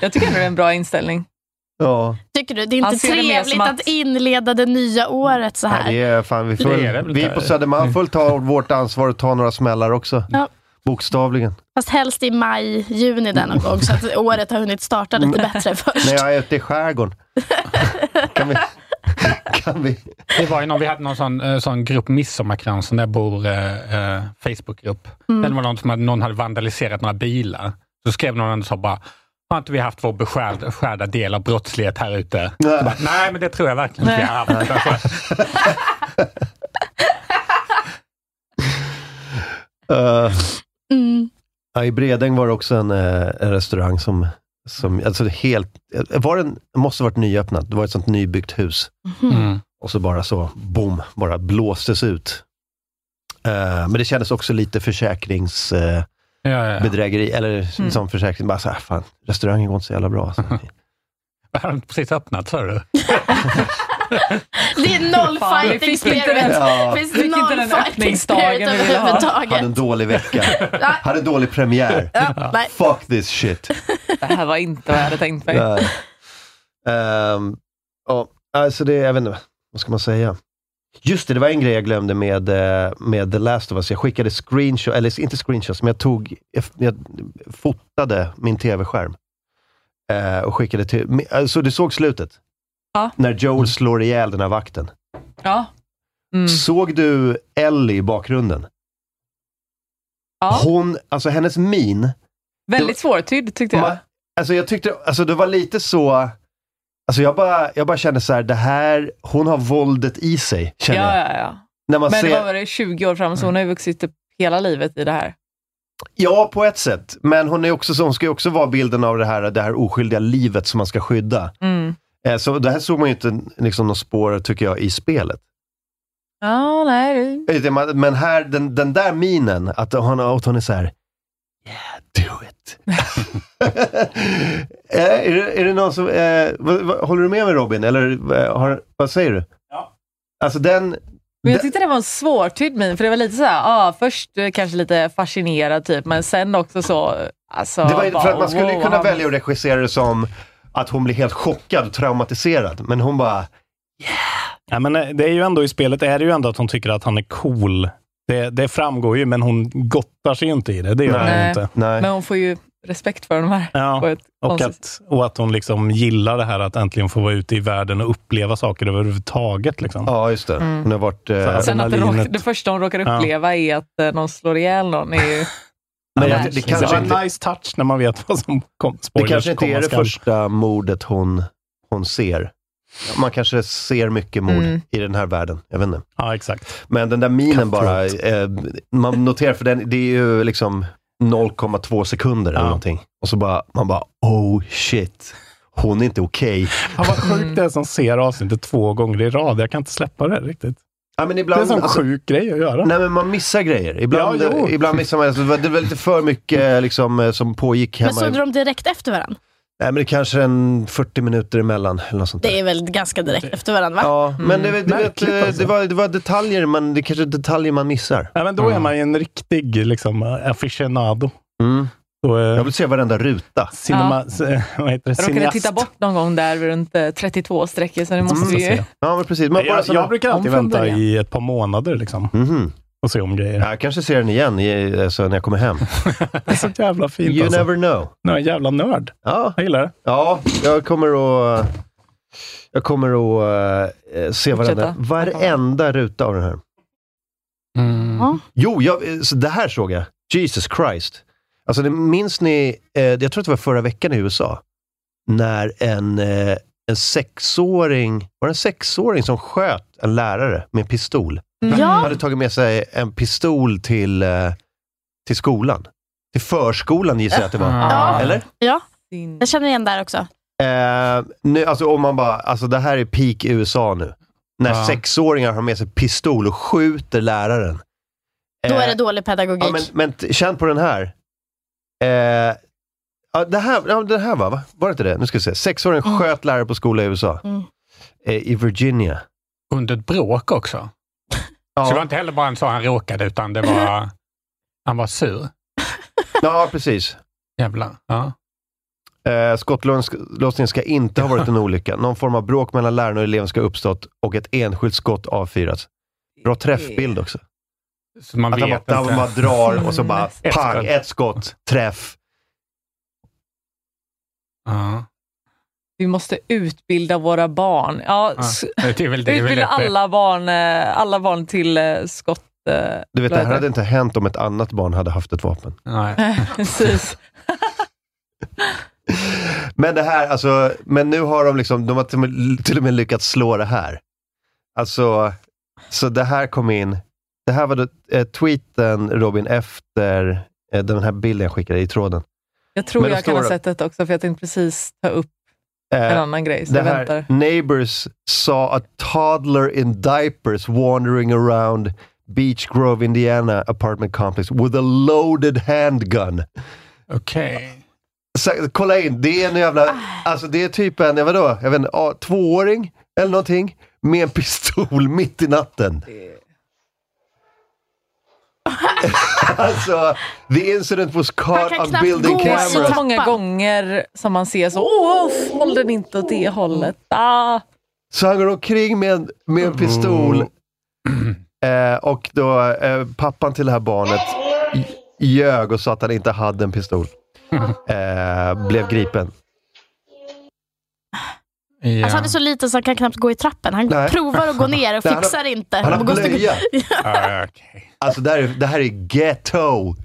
S4: Jag tycker ändå det är en bra inställning.
S1: <laughs> ja.
S2: Tycker du? Det är
S4: Han
S2: inte
S4: ser det mer
S2: trevligt
S4: som
S2: att...
S4: att-
S2: inleda det nya året så
S1: Nej,
S2: här.
S1: det är fan, vi, får,
S3: Det är det väl
S1: vi
S3: inte.
S1: på Södermalm får väl ta vårt ansvar och ta några smällar också.
S2: Ja.
S1: Bokstavligen.
S2: Fast helst i maj, juni där någon gång så att året har hunnit starta lite bättre först.
S1: När jag är ute i skärgården. kan vi, kan vi?
S3: Det var ju någon, vi hade någon sån, eh, sån grupp Midsommarkransen, där bor eh, eh, Facebookgrupp. Den var någon som hade, någon hade vandaliserat några bilar. Så skrev någon och sa bara, har inte vi haft vår beskärda, beskärda del av brottslighet här ute?
S1: Nej.
S3: Nej, bara, Nej men det tror jag verkligen inte vi har haft. Alltså,
S1: Eh,
S2: Mm.
S1: ja, Eh, I Bredäng var det också en, eh, en restaurang som, som alltså helt, var den, måste ha varit nyöppnad. Det var ett sånt nybyggt hus.
S3: Mm.
S1: Och så bara så, boom, bara blåstes ut. Eh, men det kändes också lite försäkrings... eh,
S3: Ja, ja. ja.
S1: bedrägeri, eller
S4: Mm.
S1: som försäkring. Bara så här, "Ah, fan, restaurangen går inte så jävla bra. Så.
S3: <laughs> Har de precis öppnat sa du?
S2: Det är noll
S4: Fan, det
S2: fighting
S4: fick inte
S2: spirit.
S4: den-
S1: Ja,
S2: finns
S4: Fick inte
S2: noll
S4: den
S2: fighting
S4: öppningsdagen
S2: spirit
S4: vi ville ha.
S1: hade
S2: överhuvudtaget.
S1: en dålig
S2: <laughs>
S1: vecka. hade en dålig premiär.
S2: Ja, nej.
S1: Fuck this shit.
S4: Det här var inte vad jag hade tänkt mig.
S1: Nej. Ehm, Ja, alltså det, jag vet inte, vad ska man säga? Just det, det var en grej jag glömde med, eh, med The Last of Us. Jag skickade screenshots, eller inte screenshots, men jag tog, jag, jag fotade min tv-skärm. Eh, och skickade till, men, alltså du såg slutet?
S4: Ja.
S1: När Joel slår ihjäl den här vakten.
S4: Ja. Mm.
S1: Såg du Ellie i bakgrunden?
S4: Ja.
S1: Hon, alltså hennes min.
S4: Väldigt svårtydd tyckte jag.
S1: ma- Alltså jag tyckte, alltså det var lite så, alltså jag bara, jag bara kände så här, det här, hon har våldet i sig,
S4: Ja,
S1: känner jag.
S4: ja, ja.
S1: När man
S4: Men det
S1: ser,
S4: var väl 20 år fram, så hon har ju vuxit upp hela livet i det här.
S1: Ja, på ett sätt. Men hon är också så, hon ska ju också vara bilden av det här, det här oskyldiga livet som man ska skydda.
S4: Mm.
S1: Eh, Så det här såg man ju inte liksom någon spår, tycker jag, i spelet.
S4: Ja, nej. det-
S1: Eh, det- man- Men här, den, den där minen, att hon, att hon är så här, yeah, do it. <laughs> Eh, är, det, är det någon som, eh, vad, vad, håller du med mig Robin? Eller eh, har, vad säger du?
S7: Ja.
S1: Alltså den,
S4: Men
S1: Det-
S4: jag tyckte det var en svårtydd min, för det var lite så här, ah, först eh, kanske lite fascinerad typ, men sen också så, alltså.
S1: det var, ju- för att man skulle ju
S4: wow,
S1: kunna
S4: han-
S1: välja att regissera det som att hon blir helt chockad och traumatiserad. Men hon bara,
S7: Ja, men eh, det är ju ändå i spelet är det ju ändå att hon tycker att han är cool. Det, det framgår ju, men hon gottar sig ju inte i det. Det gör hon
S4: Nej.
S7: ju inte.
S1: nej.
S4: Men hon får ju respekt för de här. På
S7: Ja,
S4: ett
S7: och,
S4: konstigt-
S7: att, och att hon liksom gillar det här att äntligen få vara ute i världen och uppleva saker överhuvudtaget. Liksom.
S1: Ja, just det. Hon har varit... eh,
S7: Så-
S4: Sen att det,
S7: adrenalinet.
S4: råk, det första hon råkar
S7: Ja.
S4: uppleva är att eh, någon slår ihjäl någon. Är ju, nej.
S1: men det, det,
S7: Det, var
S1: kanske
S7: en
S1: inte,
S7: nice touch när man vet vad som kom,
S1: det
S7: spoilers,
S1: kanske inte
S7: komma
S1: är det
S7: skall.
S1: första mordet hon, hon ser. Man kanske ser mycket mord
S4: Mm.
S1: i den här världen. Jag vet inte.
S7: Ja, exakt.
S1: Men den där minen bara,
S7: Cutthroat.
S1: eh, man noterar för den, det är ju liksom 0,2 sekunder eller
S7: Ja.
S1: någonting. Och så bara, man bara, oh shit. Hon är inte okej.
S7: Ja, vad
S4: Mm.
S7: sjukt det är som ser avsnittet två gånger i rad. Jag kan inte släppa det riktigt.
S1: Ja, men
S7: Det är en
S1: ibland,
S7: sån
S1: alltså,
S7: sjuk grej att göra.
S1: nej men man missar grejer. Ibland,
S7: Ja, jo.
S1: ibland missar man, alltså, det var- det var lite för mycket eh, liksom, eh, som pågick hemma.
S2: Men såg du dem direkt efter varandra?
S1: Nej men det är kanske en 40 minuter emellan eller något sånt där.
S2: Det är väl ganska direkt efter varandra, va?
S1: Ja, men det, det,
S7: Mm. Märkligt
S1: det,
S7: alltså.
S1: det, var, det var detaljer, men det är kanske är detaljer man missar.
S7: Ja, men då är man ju en riktig liksom, aficionado.
S1: Mm.
S7: Då, eh,
S1: Jag vill se varenda ruta.
S7: cinema, c- <laughs> vad heter det?
S4: jag råkade
S7: Cineast.
S4: titta bort någon gång där vid runt eh, 32-strecket, så nu måste
S7: Mm,
S4: vi
S7: så
S4: ju...
S7: ser
S1: Ja, men precis. Man
S7: Jag,
S1: bara
S7: jag,
S1: sådana...
S7: jag brukar alltid
S4: Om från
S7: vänta
S4: början.
S7: i ett par månader liksom,
S1: Mhm.
S7: och se om grejer.
S1: Ja, Jag kanske ser den igen i, alltså, när jag kommer hem.
S7: <laughs> Det är så jävla fint
S1: You
S7: alltså.
S1: never know.
S7: Nu är jag en jävla nörd.
S1: Ja,
S7: Jag gillar det.
S1: ja jag kommer att... Jag kommer att eh, se varenda,
S4: Fortsätta.
S1: varenda ruta av den här.
S3: Mm.
S1: Jo, jag, eh, så det här såg jag. Jesus Christ. Alltså, det, minns ni, eh, jag tror att det var förra veckan i USA, när en, eh, en sexåring, var det en sexåring som sköt en lärare med en pistol? Han
S2: Ja,
S1: hade tagit med sig en pistol till, eh, till skolan. Till förskolan gissar jag att det var.
S3: Ja.
S1: Eller?
S2: ja,
S4: Din...
S2: jag känner igen där också.
S1: Eh, nu, alltså, om man bara, alltså det här är peak USA nu. När
S3: Ja.
S1: sexåringar har med sig pistol och skjuter läraren.
S2: Då
S1: Eh,
S2: är det dålig pedagogik.
S1: Ja, men, men t- känn på den här. Eh, ja, det här, ja, det här va? va? Var det inte det? Nu ska vi se. Sexåringen
S2: Mm.
S1: sköt lärare på skola i USA.
S2: Mm.
S1: Eh, I Virginia.
S3: Under ett bråk också. Så det var
S1: Ja.
S3: inte heller bara en så han råkade, utan det var... Han var sur.
S1: Ja, precis.
S3: Jävlar. Ja.
S1: Eh, skottlossningen ska inte ha varit en olycka. Någon form av bråk mellan läraren och eleven ska ha uppstått och ett enskilt skott avfyrats. Bra träffbild också.
S3: Så man
S1: att han
S3: vet
S1: bara, Mm.
S3: inte.
S1: han bara drar och så bara
S3: Ett
S1: pang,
S3: skott.
S1: ett skott, träff.
S3: Ja.
S4: Vi måste utbilda våra barn. Ja,
S3: Ja.
S4: s-
S3: Det är väl det. är väl
S4: utbilda
S3: det.
S4: alla barn, eh, alla barn till eh, skott... eh, <laughs>
S1: Du vet, det här
S4: löjder.
S1: hade inte hänt om ett annat barn hade haft ett vapen.
S3: Nej.
S4: Precis.
S1: Men det här, alltså, men nu har de liksom, de har till och med- till och med lyckats slå det här. Alltså, så det här kom in. Det här var då, eh, tweeten, Robin, efter eh, den här bilden jag skickade i tråden.
S4: Jag tror
S1: Men då
S4: jag kan
S1: står
S4: ha
S1: det-
S4: sett detta också, för jag tänkte precis ta upp
S1: Eh,
S4: en annan grej. Så
S1: det
S4: jag
S1: här,
S4: väntar.
S1: Neighbors saw a toddler in diapers wandering around Beach Grove, Indiana apartment complex with a loaded handgun.
S3: Okej.
S1: Så, kolla in, det är en jävla,
S2: Ah.
S1: alltså det är typ en, vadå, jag vet inte, ja, tvååring eller någonting med en pistol <laughs> mitt i natten. <laughs> alltså, the incident was
S2: Man
S1: caught
S2: kan
S1: on
S2: knappt
S1: building
S2: gå
S4: Så
S1: cameras.
S2: trappan.
S4: många gånger som man ser så, åh, håll den inte åt det hållet. Ah.
S1: Så han går omkring med en, med en pistol eh, och då eh, pappan till det här barnet j- ljög och sa att han inte hade en pistol. Eh, blev gripen.
S3: Ja.
S6: eh,
S2: Alltså, han är så liten så han kan knappt gå i trappen. Han
S1: Nej.
S2: provar att
S1: <laughs>
S2: gå ner och
S1: Nej, han har-
S2: fixar inte.
S1: Han har
S2: Och går-
S1: blöja.
S3: Ja, okej.
S1: Alltså det här, är, det här är ghetto.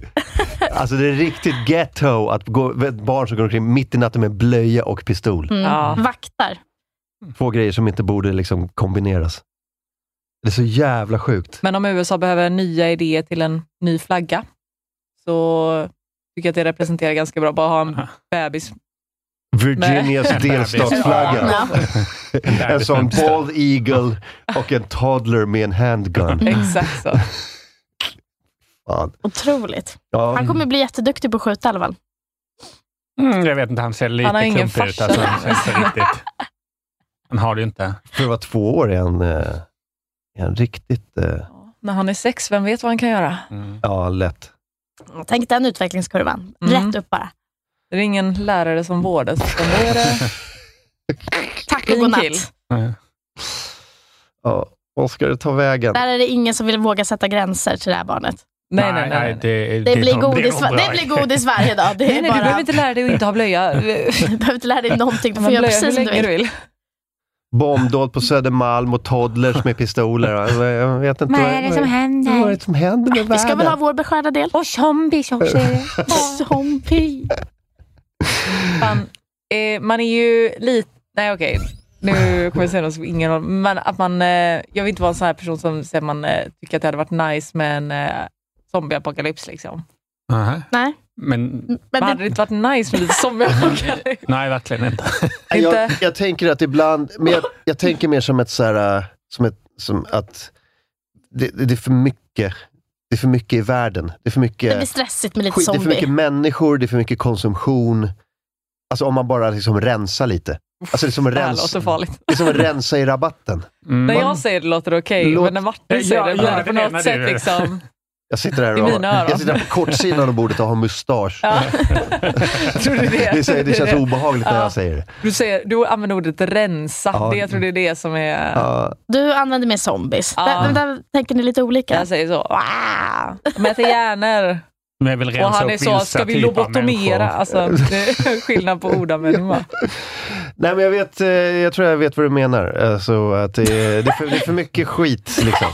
S1: Alltså det är riktigt ghetto att gå, ett barn som går omkring mitt i natten med blöja och pistol.
S2: Mm.
S4: Ja.
S2: Vaktar.
S1: Två grejer som inte borde liksom kombineras. Det är så jävla sjukt.
S4: Men om USA behöver nya idéer till en ny flagga, så tycker jag att det representerar ganska bra. Bara ha en bebis.
S1: Virginias delstatsflagga.
S2: Ja.
S1: En sån bald eagle och en toddler med en
S4: Mm.
S1: handgun.
S4: Exakt så.
S1: Fan.
S2: Otroligt.
S1: Ja.
S2: Han kommer bli jätteduktig på att skjuta i alla fall.
S3: Mm, jag vet inte, han ser lite
S4: Han har ingen
S3: klumpig ut.
S4: farsa.
S3: Alltså, han ser inte riktigt. Han har det ju inte.
S1: För att vara två år är han, eh, är han riktigt eh,
S2: Mm.
S4: När han är sex, vem vet vad han kan göra?
S1: ja, lätt.
S2: Tänk den utvecklingskurvan.
S4: Mm.
S2: Rätt upp bara.
S4: Det är ingen lärare som vårdas, utan då är det
S2: Tack och
S4: Fin kill.
S2: godnatt.
S1: Ja. Vad ska det ta vägen?
S2: Där är det ingen som vill våga sätta gränser till det här barnet.
S4: Nej, nej, nej. nej,
S3: Det,
S2: Det, blir,
S3: nog-
S2: godis,
S3: nog bra.
S2: det blir godis varje dag.
S4: <laughs>
S2: Det
S4: nej,
S2: är
S4: nej,
S2: bara,
S4: du behöver inte lära dig att inte ha blöja. Du
S2: <laughs> du behöver inte lära dig någonting. Du
S4: får
S2: får
S4: blöja
S2: göra
S4: hur
S2: precis som du
S4: länge du
S2: vill.
S4: vill.
S1: bombdåd på Södermalm och toddlers med
S2: <laughs>
S1: pistoler. Alltså, Jag vet inte vad, vad,
S4: händer?
S1: vad är det som händer med
S2: Vi ska
S1: världen.
S2: väl ha vår
S4: <laughs>
S2: beskärda del.
S4: Och zombies
S1: <laughs>
S4: också.
S2: Zombie.
S4: man, eh, man är ju lite... Nej okej, nu kommer jag säga något som ingen har... Men att man, eh, jag vill inte vara en sån här person som säger att man eh, tycker att det hade varit nice med en eh, zombieapokalyps. Liksom.
S3: Aha.
S2: Nej,
S3: Men
S4: Men
S2: men
S4: hade det inte varit nice med lite zombieapokalyps?
S3: nej, verkligen inte.
S1: jag,
S4: Inte.
S1: jag tänker att ibland, men jag, jag tänker mer som ett så här, äh, som ett, som att det, det det är för mycket. Det är för mycket i världen. Det är för
S2: det, det blir
S1: mycket,
S2: stressigt med lite
S1: skit, det är för mycket
S2: zombie.
S1: människor, det är för mycket konsumtion. Alltså om man bara liksom rensar lite. Alltså det är som att
S4: Det här
S1: rensa,
S4: låter farligt.
S1: det är som att rensa i rabatten.
S3: Mm.
S4: När jag säger det låter det okej,
S1: Låt-
S4: men när Martin säger
S3: Ja,
S4: det
S3: ja,
S4: blir det
S3: det
S4: på
S3: menar
S4: något
S3: du.
S4: sätt liksom...
S1: Jag sitter här
S4: I
S1: och
S4: mina öron.
S1: jag sitter här på kortsidan av bordet och har mustasch. <laughs>
S4: Ja. Tror du det?
S1: Det, säger, det känns obehagligt när
S4: Ja.
S1: jag säger det.
S4: Du, säger, du använder ordet rensa.
S1: Ja.
S4: Det, jag tror det är det som är...
S1: Ja.
S2: Du använder mer zombies.
S4: Ja.
S2: Där, där tänker ni lite olika.
S4: Jag säger så. "Ah, De äter hjärnor.
S3: Men jag vill rensa
S4: Och han är
S3: upp
S4: så,
S3: vissa
S4: ska vi
S3: typer av
S4: lobotomera?
S3: människor.
S4: Alltså, det är skillnad på ordanvändning va?
S1: Nej, men jag, vet, eh, jag tror jag vet vad du menar. Alltså, att det, är, det, är för, det är för mycket skit. Liksom.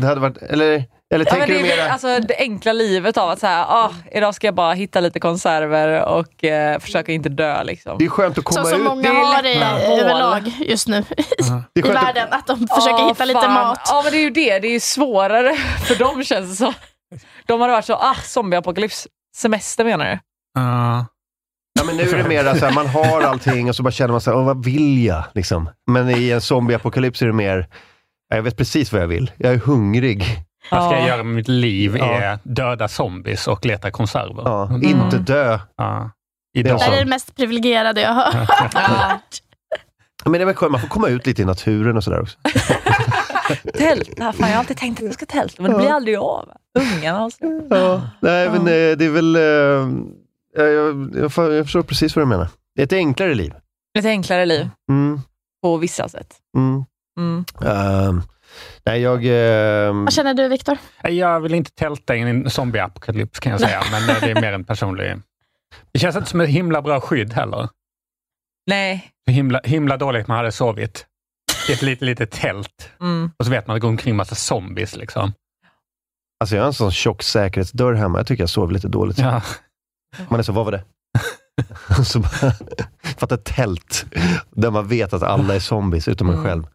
S1: Det hade varit, eller eller
S4: Ja,
S1: tänker
S4: men det,
S1: du
S4: är
S1: mera...
S4: det, alltså, det enkla livet av att så här, ah, idag ska jag bara hitta lite konserver och eh, försöka inte dö. Liksom.
S1: det är skönt att komma
S2: Så som
S1: ut.
S2: många
S4: Det är
S2: har i,
S4: lätta mål.
S2: överlag just nu
S1: Det är
S2: i
S1: skönt att-
S2: världen. Att de försöker
S4: Ah,
S2: hitta lite
S4: fan.
S2: mat.
S4: Ja, men det är ju det. Det är ju svårare <laughs> för dem känns det som. De hade varit så, ah, zombieapokalyps. Semester menar du?
S3: Ja.
S1: ja, men nu är det mera så här, man har allting och så bara känner man så här, "Åh, vad vill jag? Liksom. Men i en zombieapokalyps är det mer, "Ja, jag vet precis vad jag vill. Jag är hungrig.
S3: Vad ska
S4: Ja.
S3: jag göra med mitt liv?
S1: Ja.
S3: är döda zombies och leta konserver.
S1: Ja, Inte dö.
S3: Ja.
S1: Det är
S3: Idag.
S2: Det här är
S1: så.
S2: det mest privilegierade jag har hört.
S1: Men det är väl skönt, man får komma ut lite i naturen och sådär också.
S4: Tälta, fan jag har alltid tänkt att jag ska tälta, men det blir aldrig av. alltså. Ungarna har slut.
S1: Nej, men eh, det är väl... eh, Jag, jag, jag för- jag förstår precis vad du menar. Det är ett enklare liv.
S4: Ett enklare liv
S1: Mm,
S4: på vissa sätt.
S1: mm.
S4: Mm.
S1: Ehm, nej, jag... ehm,
S2: Vad känner du, Viktor?
S3: Nej, Jag vill inte tälta in i en zombieapokalyps kan jag säga, men eh, det är mer en personlig... Det känns inte som ett himla bra skydd heller.
S4: Nej.
S3: Så Himla, himla dåligt man hade sovit i ett litet, litet tält
S4: Mm.
S3: och så vet man att det går omkring massa zombies. Liksom.
S1: alltså, jag har en sån tjock säkerhetsdörr hemma. Jag tycker jag sover lite dåligt.
S3: Ja.
S1: Man är så, vad var det? <laughs> så bara, fatta ett tält där man vet att alla är zombies utom en
S4: Mm.
S1: själv.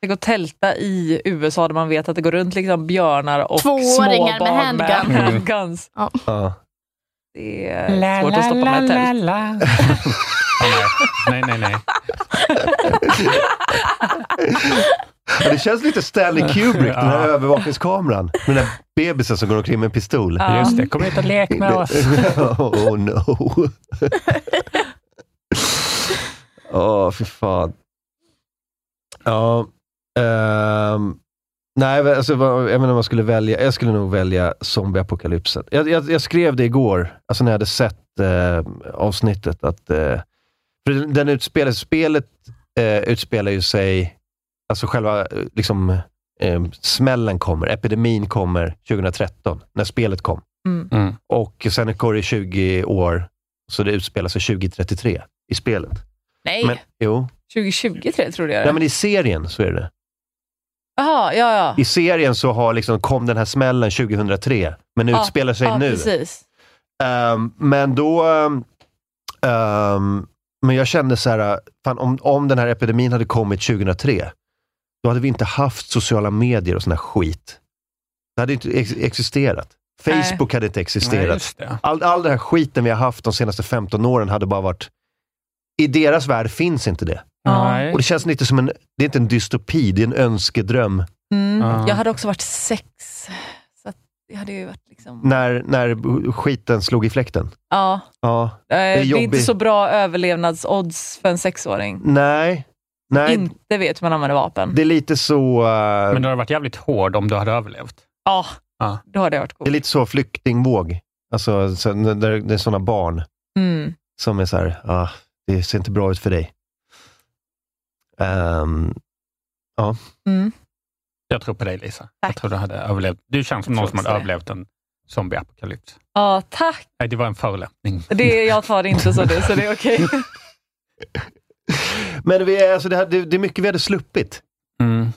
S4: Det går att tälta i USA där man vet att det går runt liksom björnar och
S2: Tvååringar
S4: små
S2: med
S4: barn med
S2: handgun.
S4: handguns.
S1: Ja.
S4: Det är svårt att stoppa med ett tält.
S3: nej, nej, nej.
S1: Men det känns lite Stanley Kubrick, den här
S3: Ja.
S1: övervakningskameran. Med den där bebisen som går omkring med en pistol.
S4: Ja.
S3: Just det, kom hit och lek med oss.
S1: <laughs> oh no. Åh, fy fan. Ja. ehm, nej, men alltså, vad- jag menar man skulle välja, jag skulle nog välja zombieapokalypsen. Jag, jag, jag skrev det igår, alltså när jag hade sett eh, avsnittet, att eh, för den- den utspelar, spelet eh, utspelar ju sig, alltså själva eh, liksom, eh, smällen kommer, epidemin kommer 2013, när spelet kom.
S3: Mm.
S1: Och sen går det 20 år, så det utspelar sig 2033 i spelet.
S4: Nej,
S1: Men,
S4: Äh.
S1: jo.
S4: 2020 tror jag- trodde jag
S1: Nej,
S4: det.
S1: men i serien så är det.
S4: Jaha, ja, ja.
S1: I serien så har liksom, kom den här smällen 2003, men
S4: Ja,
S1: utspelar sig
S4: ja,
S1: nu.
S4: precis.
S1: Ehm, men då... ehm, ehm, men jag kände så här, fan, om, om den här epidemin hade kommit 2003, då hade vi inte haft sociala medier och sån här skit. Det hade inte ex- existerat.
S4: Nej.
S1: Facebook hade inte
S3: Nej,
S1: existerat.
S3: just det.
S1: All, all den här skiten vi har haft de senaste 15 åren hade bara varit... I deras värld finns inte det.
S3: Nej.
S1: Och det känns lite som en... Det är inte en dystopi, det är en önskedröm.
S4: Mm.
S3: Ja.
S4: Jag hade också varit sex. Så att det hade ju varit liksom...
S1: När, när skiten slog i fläkten.
S4: Ja. eh,
S1: Ja.
S4: Det är, det är inte
S1: jobbigt.
S4: så bra överlevnadsodds för en sexåring.
S1: Nej. Nej.
S4: Inte vet hur man använder vapen.
S1: Det är lite så... eh,
S3: Men du hade varit jävligt hård om du hade överlevt.
S4: Ja,
S3: Ja.
S4: då hade jag varit cool.
S1: Det är lite så flyktingvåg. Alltså, så, när när det är sådana barn
S4: Mm.
S1: som är så här, ah, det ser inte bra ut för dig. Ehm,
S4: Mm.
S3: Jag tror på dig Lisa. Jag
S4: Tack.
S3: tror du hade överlevt. Du känns som
S4: Jag
S3: någon
S4: tror
S3: som hade
S4: också det.
S3: överlevt en zombieapokalyps.
S4: Ja, tack.
S3: Nej, det var
S4: <laughs>
S3: en förolämpning.
S4: Det, jag tar det inte så det, så det är okej.
S1: men vi, är- alltså, det, här, det, det är mycket vi hade sluppit.
S3: Mm.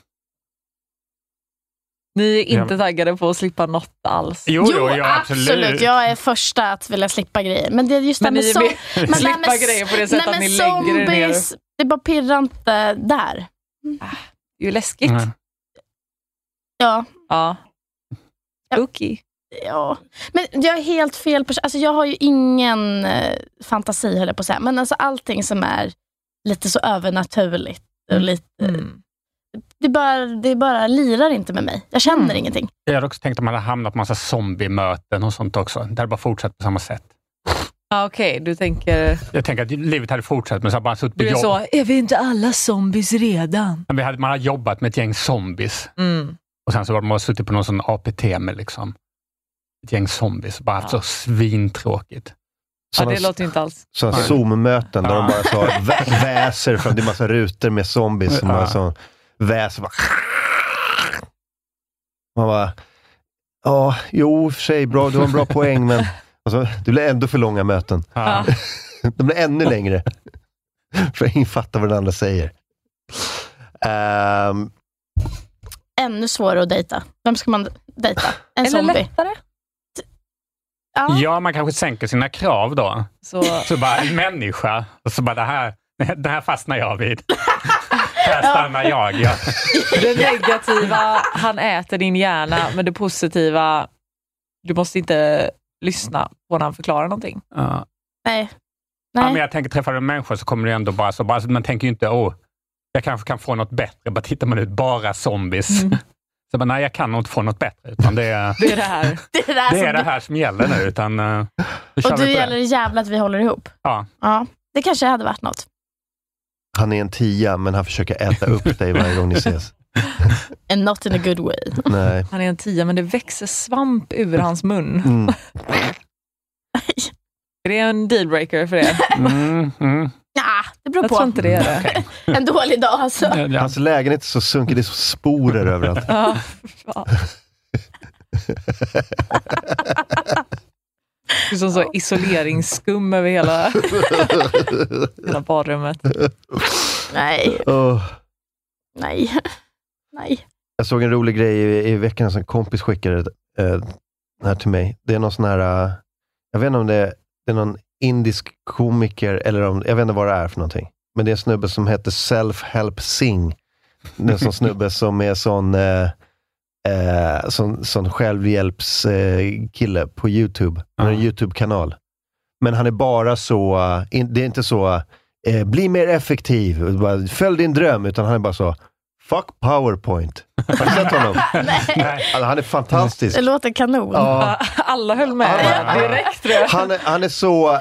S4: Ni är inte
S3: Ja.
S4: taggade på att slippa något alls.
S3: Jo, jo, ja, absolut.
S2: Jag är första att vilja slippa grejer. Men det är just det här
S4: Men
S2: med
S4: ni är
S2: så... <laughs>
S4: med-
S2: men det här
S4: slippa
S2: med s-
S4: grejer på det sättet att
S2: nej,
S4: ni
S2: men
S4: lägger er ner.
S2: zombies, det bara pirrar inte där.
S4: Det är ju läskigt.
S3: Nej.
S2: Ja,
S4: Ja. Spooky.
S2: ja. Men jag är helt fel person. Alltså, jag har ju ingen eh, fantasi, höll jag på att säga. Men alltså, allting som är lite så övernaturligt. Och lite,
S4: Mm.
S2: det, bara, det bara lirar inte med mig. Jag känner
S4: Mm.
S2: ingenting.
S3: Jag hade också tänkt att man hade hamnat på massa zombiemöten och sånt också. Det hade bara fortsatt på samma sätt.
S4: Ja, Okej, du tänker...
S3: Jag tänker att livet hade fortsatt, men så hade man suttit på
S4: Du är
S3: jobb.
S4: så, är vi inte alla zombies redan?
S3: Men vi hade, man hade jobbat med ett gäng zombies
S4: Mm.
S3: och sen så hade man suttit på någon sån APT med liksom ett gäng zombies och bara haft så svintråkigt.
S4: Ja,
S1: Sådana
S4: det låter ju inte alls...
S1: sådana
S3: Nej.
S1: Zoom-möten där
S3: Ja.
S1: de bara så
S3: <laughs>
S1: vä- väser fram. Det är massa rutor med zombies som
S3: Ja.
S1: bara så väser. Bara. Man bara, ja, jo, i och för sig, bra, du har en bra poäng, men alltså, det blir ändå för långa möten.
S3: Ja.
S1: De blir ännu längre. för ingen fattar vad den andra säger. Ehm,
S2: Ännu svårare att dejta. Vem ska man dejta? En
S4: Eller
S2: zombie.
S4: lättare.
S2: Ja.
S3: ja, man kanske sänker sina krav då.
S4: Så,
S3: Så bara, människa. Och så bara, det här, <laughs> det här fastnar
S2: <laughs>
S3: jag vid. här stannar jag. Ja.
S4: det negativa, han äter din hjärna, men det positiva, du måste inte lyssna på när han förklarar någonting.
S3: Ja.
S2: Nej.
S3: Ja,
S2: Nej.
S3: men jag tänker, träffar du en människa så kommer du ändå bara så, bara, man tänker ju inte, åh, jag kanske kan få något bättre. Bara tittar man ut, bara zombies.
S2: Mm.
S3: <laughs> Så bara, nej, jag kan nog inte få något bättre. Utan det, är,
S4: Det är det här.
S2: <laughs> Det är det här
S3: det är
S2: som-
S3: det här som gäller nu. Utan, eh, nu kör
S2: Och du
S3: vi på det.
S2: gäller det jävla att vi håller ihop.
S3: Ja.
S2: ja. Det kanske hade varit något.
S1: han är en tia, men han försöker äta upp dig varje gång ni ses.
S2: And not in a good way.
S1: Nej.
S8: Han är en tia, men det växer svamp ur hans mun.
S1: Mm.
S8: Är det en dealbreaker för er?
S3: Mm, mm.
S2: Ja, det beror
S8: Jag tror
S2: på.
S8: inte det är det.
S2: En dålig dag alltså.
S3: Ja, ja.
S1: Hans lägenhet är så sunkig, det är så sporer
S3: <laughs>
S1: överallt.
S8: Ja, fan. Det är som så isoleringsskum över hela, hela badrummet.
S2: Nej,
S1: Åh.
S2: nej, <laughs> nej.
S1: Jag såg en rolig grej i, i veckan som en kompis skickade eh, här till mig. Det är någon sån här, eh, jag vet inte om det är, det är någon indisk komiker, eller om, jag vet inte vad det är för någonting. Men det är en snubbe som heter Self-Help Sing. Det är en sån snubbe som är sån, eh, eh, sån, sån självhjälpskille eh, kille på YouTube. Han har en
S3: Ja.
S1: YouTube-kanal. Men han är bara så, eh, in, det är inte så, eh, bli mer effektiv, bara, följ din dröm, utan han är bara så, fuck powerpoint. Har du sett honom?
S2: nej.
S1: Alltså, han är fantastisk.
S2: Det låter kanon.
S1: Ja.
S8: Alla höll med
S1: Ja.
S8: direkt tror jag.
S1: Han, är, han är så, eh,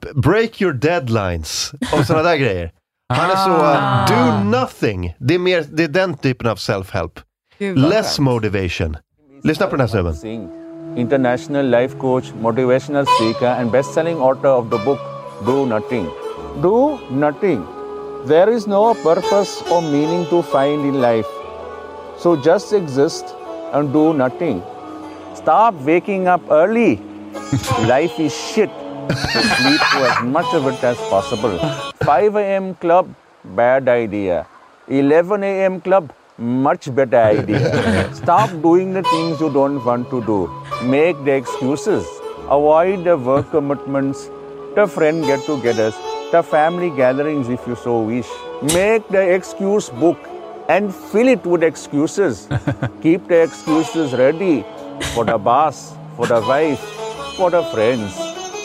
S1: b- break your deadlines och sådana där grejer. Han är så,
S8: Ah.
S1: eh, do nothing. Det är, mer, det är den typen av self-help.
S8: Gud, vad
S1: Less
S8: skönt.
S1: motivation. Lyssna på den här snubben.
S9: Singh, international life coach, motivational speaker, and best-selling author of the book Do Nothing. Do nothing. There is no purpose or meaning to find in life. So just exist and do nothing. Stop waking up early. life is shit. So sleep to as much of it as possible. 5 a.m. club, bad idea. 11 a.m. club, much better idea. Stop doing the things you don't want to do. Make the excuses. Avoid the work commitments, the friend get togethers, the family gatherings if you so wish. Make the excuse book and fill it with excuses. <laughs> Keep the excuses ready for the boss, for the wife, for the friends.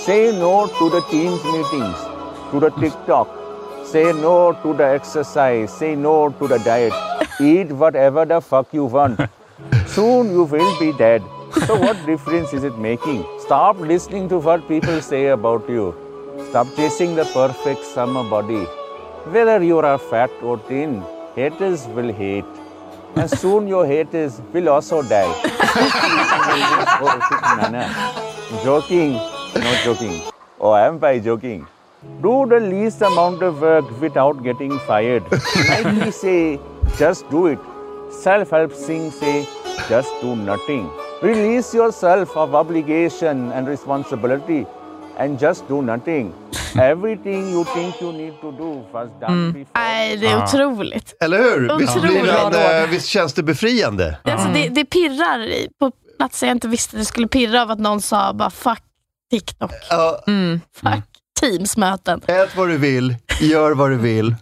S9: Say no to the Teams meetings, to the TikTok. Say no to the exercise. Say no to the diet. Eat whatever the fuck you <laughs> want. Soon you will be dead. So, what difference is it making? Stop listening to what people say about you. Stop chasing the perfect summer body. Whether you are fat or thin, haters will hate. And soon your haters will also die. joking, not joking. Oh, am I joking? Do the least amount of work without getting fired. Like we say, just do it. Self help sing say, just do nothing. Release yourself of obligation and responsibility and just do nothing. Everything you think you need to do was done before.
S2: Nej, det är
S3: Ja.
S2: otroligt.
S1: Eller hur? Visst,
S2: Otroligt
S1: blir han,
S8: bra råd.
S1: eh, visst känns det befriande?
S2: Det, alltså, det, det pirrar i- på platser jag inte visste det skulle pirra av att någon sa bara fuck TikTok,
S1: Ja,
S2: fuck Teams-möten.
S1: ät vad du vill, gör vad du vill.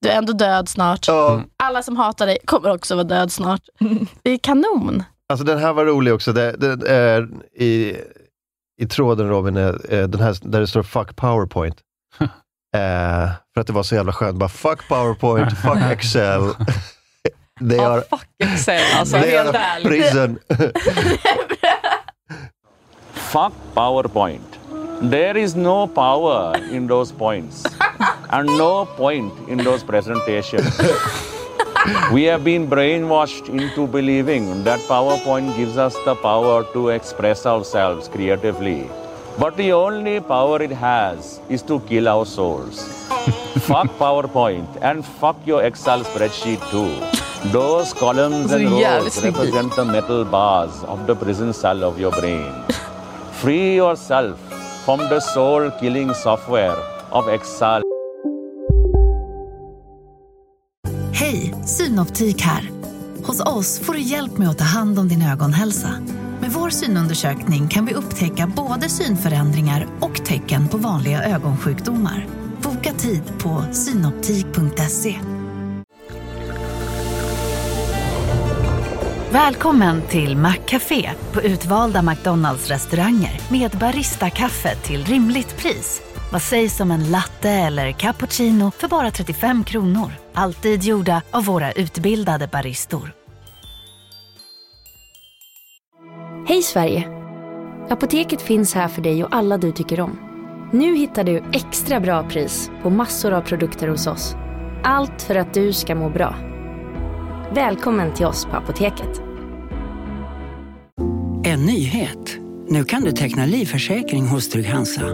S2: Du är ändå död snart.
S1: Ja,
S2: Alla som hatar dig kommer också vara död snart. Det är kanon.
S1: Alltså den här var rolig också. Det, det är i, I tråden Robin, är- är den här, där det står fuck powerpoint. eh, för att det var så jävla skönt. Bara fuck powerpoint, fuck excel. <laughs> They
S8: Ja,
S1: are,
S8: fuck Excel alltså.
S1: they
S8: Helt
S1: are
S8: ärligt. <laughs>
S1: prison.
S9: fuck PowerPoint. There is no power in those points and no point in those presentations. <laughs> we have been brainwashed into believing that PowerPoint gives us the power to express ourselves creatively. But the only power it has is to kill our souls. fuck PowerPoint and fuck your Excel spreadsheet too. Those columns
S4: Alltså,
S9: and
S8: Så jävligt
S9: rows
S8: snygg bild.
S9: represent the metal bars of the prison cell of your brain. Free yourself from the soul killing software of Excel.
S4: Hej, Synoptik här. Hos oss får du hjälp med att ta hand om din ögonhälsa. Med vår synundersökning kan vi upptäcka både synförändringar och tecken på vanliga ögonsjukdomar. Boka tid på synoptik.se. Välkommen till Maccafé på utvalda McDonalds restauranger med Baristakaffe till rimligt pris. Vad sägs om en latte eller cappuccino för bara 35 kronor? Alltid gjorda av våra utbildade baristor.
S10: Hej Sverige! Apoteket finns här för dig och alla du tycker om. Nu hittar du extra bra pris på massor av produkter hos oss. Allt för att du ska må bra.
S11: Välkommen till oss på Apoteket.
S12: En nyhet. Nu kan du teckna livförsäkring hos Trygg-Hansa.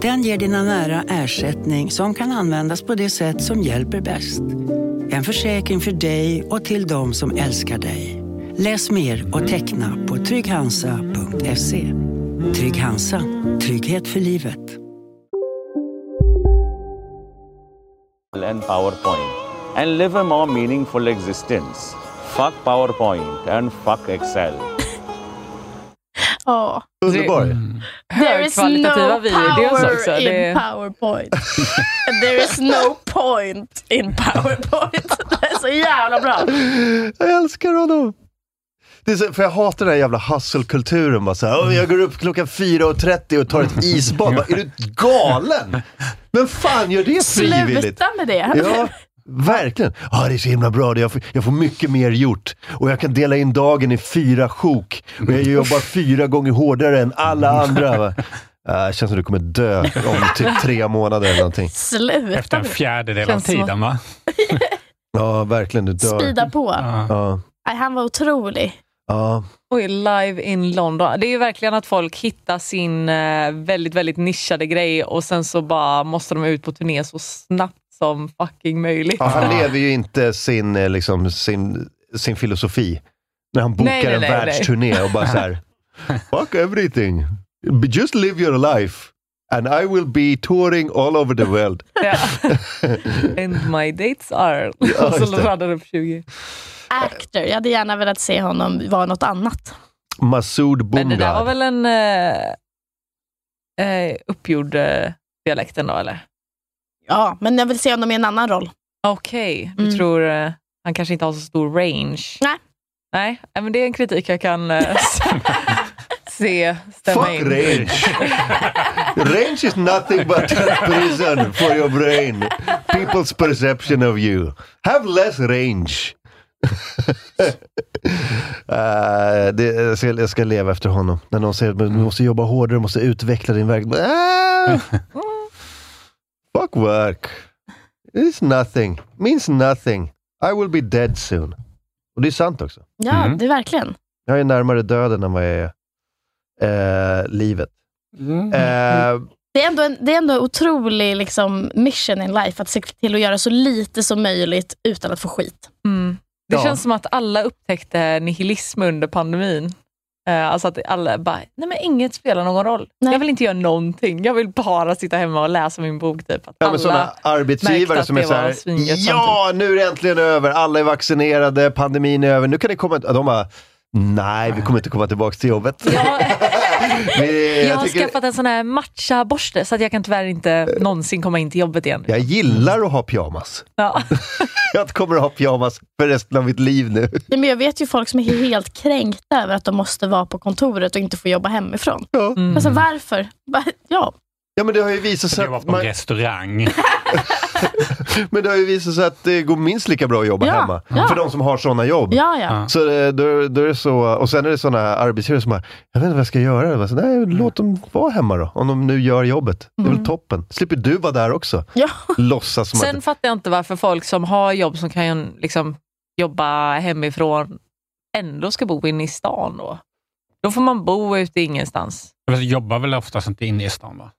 S12: Den ger dina nära ersättning som kan användas på det sätt som hjälper bäst. En försäkring för dig och till de som älskar dig. Läs mer och teckna på trygghansa.se. Trygg Hansa. Trygghet för livet.
S9: and PowerPoint and live a more meaningful existence. Fuck PowerPoint and fuck Excel.
S2: Ja.
S1: Underbar.
S2: There is no
S4: Högkvalitativa videos
S2: power
S4: också,
S2: in
S4: det-
S2: powerpoint. <laughs> And There is no point in powerpoint. <laughs> Det är så jävla bra.
S1: Jag älskar honom. Det är så, för jag hatar den här jävla hustle-kulturen. Bara så här, "Åh, jag går upp klockan 4.30 och tar ett isbad. Bara, är du galen? Vem fan gör det frivilligt?
S2: Sluta med det.
S1: Ja, verkligen. Ja, det är så himla bra. Det- Jag får, jag får mycket mer gjort. Och jag kan dela in dagen i fyra sjok. Och jag jobbar fyra gånger hårdare än alla andra. va. Äh, Det känns som du kommer dö om typ tre månader eller någonting.
S2: Sluta
S3: Efter en
S2: med det.
S3: fjärdedel av
S2: Känns som
S3: tiden va?
S1: Ja, verkligen. Du dör.
S2: Speeda på.
S1: Ja.
S2: Nej, han var otrolig.
S1: Ja.
S4: Och är live in London. Det är ju verkligen att folk hittar sin eh, väldigt, väldigt nischade grej och sen så bara måste de ut på turné så snabbt som fucking möjligt.
S1: Ja, han lever ju inte sin, eh, liksom, sin, sin filosofi. När han bokar
S4: Nej, nej,
S1: en
S4: nej, nej.
S1: världsturné och bara så här. Fuck everything. Just live your life. And I will be touring all over the world. <laughs>
S4: Ja. And my dates are...
S1: Ja,
S4: och <laughs> så
S1: just det.
S4: laddar de upp 20.
S2: Actor. Jag hade gärna velat se honom vara något annat.
S1: Masood
S4: Men det där var
S1: Bongad.
S4: väl en eh, eh, uppgjord eh, dialekt ändå, eller?
S2: Ja, men jag vill se honom i en annan roll. Mm.
S4: Okej, du tror eh, han kanske inte har så stor range?
S2: Nej.
S4: Nej, eh, men det är en kritik jag kan eh, <laughs> se stämma
S1: Fuck
S4: in.
S1: range.
S4: <laughs>
S1: range is nothing but a prison for your brain. People's perception of you. Have less range. <laughs> Eh, det, jag, ska, jag ska leva efter honom. När någon säger att du måste jobba hårdare, du måste utveckla din verksamhet.
S4: <laughs>
S1: Fuck work. It's nothing. Means nothing. I will be dead soon. Och det är sant också.
S2: Ja,
S4: Mm.
S2: det är verkligen.
S1: Jag är närmare döden än vad jag är eh, livet.
S4: Mm.
S1: Eh,
S2: Det är ändå en, det är ändå en otrolig liksom, mission in life, att se till att göra så lite som möjligt utan att få skit.
S4: Mm. <laughs> Det
S2: Ja.
S4: känns som att alla upptäckte nihilism under pandemin. Eh, Alltså att alla bara, nej men inget spelar någon roll. Jag vill inte göra någonting. Jag vill bara sitta hemma och läsa min bok. Typ. Att
S1: Ja,
S4: alla
S1: men <laughs> sådana
S4: märkte
S1: arbetsgivare
S4: att
S1: som är
S4: det
S1: så
S4: var
S1: här,
S4: svingött
S1: ja nu är det äntligen över, alla är vaccinerade, pandemin är över, nu kan ni komma, de bara, nej vi kommer inte komma tillbaka till jobbet. <laughs> Vi-
S4: Jag, har
S1: tycker-
S4: skaffat en sån här matcha-borste så att jag kan tyvärr inte någonsin komma in till jobbet igen.
S1: jag gillar att ha pyjamas.
S4: Ja.
S1: <laughs> jag kommer att ha pyjamas för resten av mitt liv nu.
S2: Ja, men jag vet ju folk som är helt kränkta över att de måste vara på kontoret och inte få jobba hemifrån.
S1: Mm.
S2: Men så, varför? Va- Ja.
S1: Ja men det har ju visat sig att... Man...
S3: restaurang.
S1: men det har ju visat sig att det går minst lika bra att jobba
S2: Ja,
S1: hemma.
S2: ja.
S1: För de som har sådana jobb.
S2: Ja, ja.
S1: Så, eh, då, då är det så, och sen är det sådana arbetsgivare som bara, jag vet inte vad jag ska göra. Jag bara, så, Nej, låt dem vara hemma då, om de nu gör jobbet. Det är väl toppen. slipper du vara där också.
S2: Ja.
S1: <laughs> Låtsas som
S4: Sen
S1: att...
S4: fattar jag inte varför folk som har jobb som kan ju liksom jobba hemifrån ändå ska bo inne i stan då. Då får man bo ute ingenstans.
S3: Jag vet, jobbar väl oftast inte inne i stan va?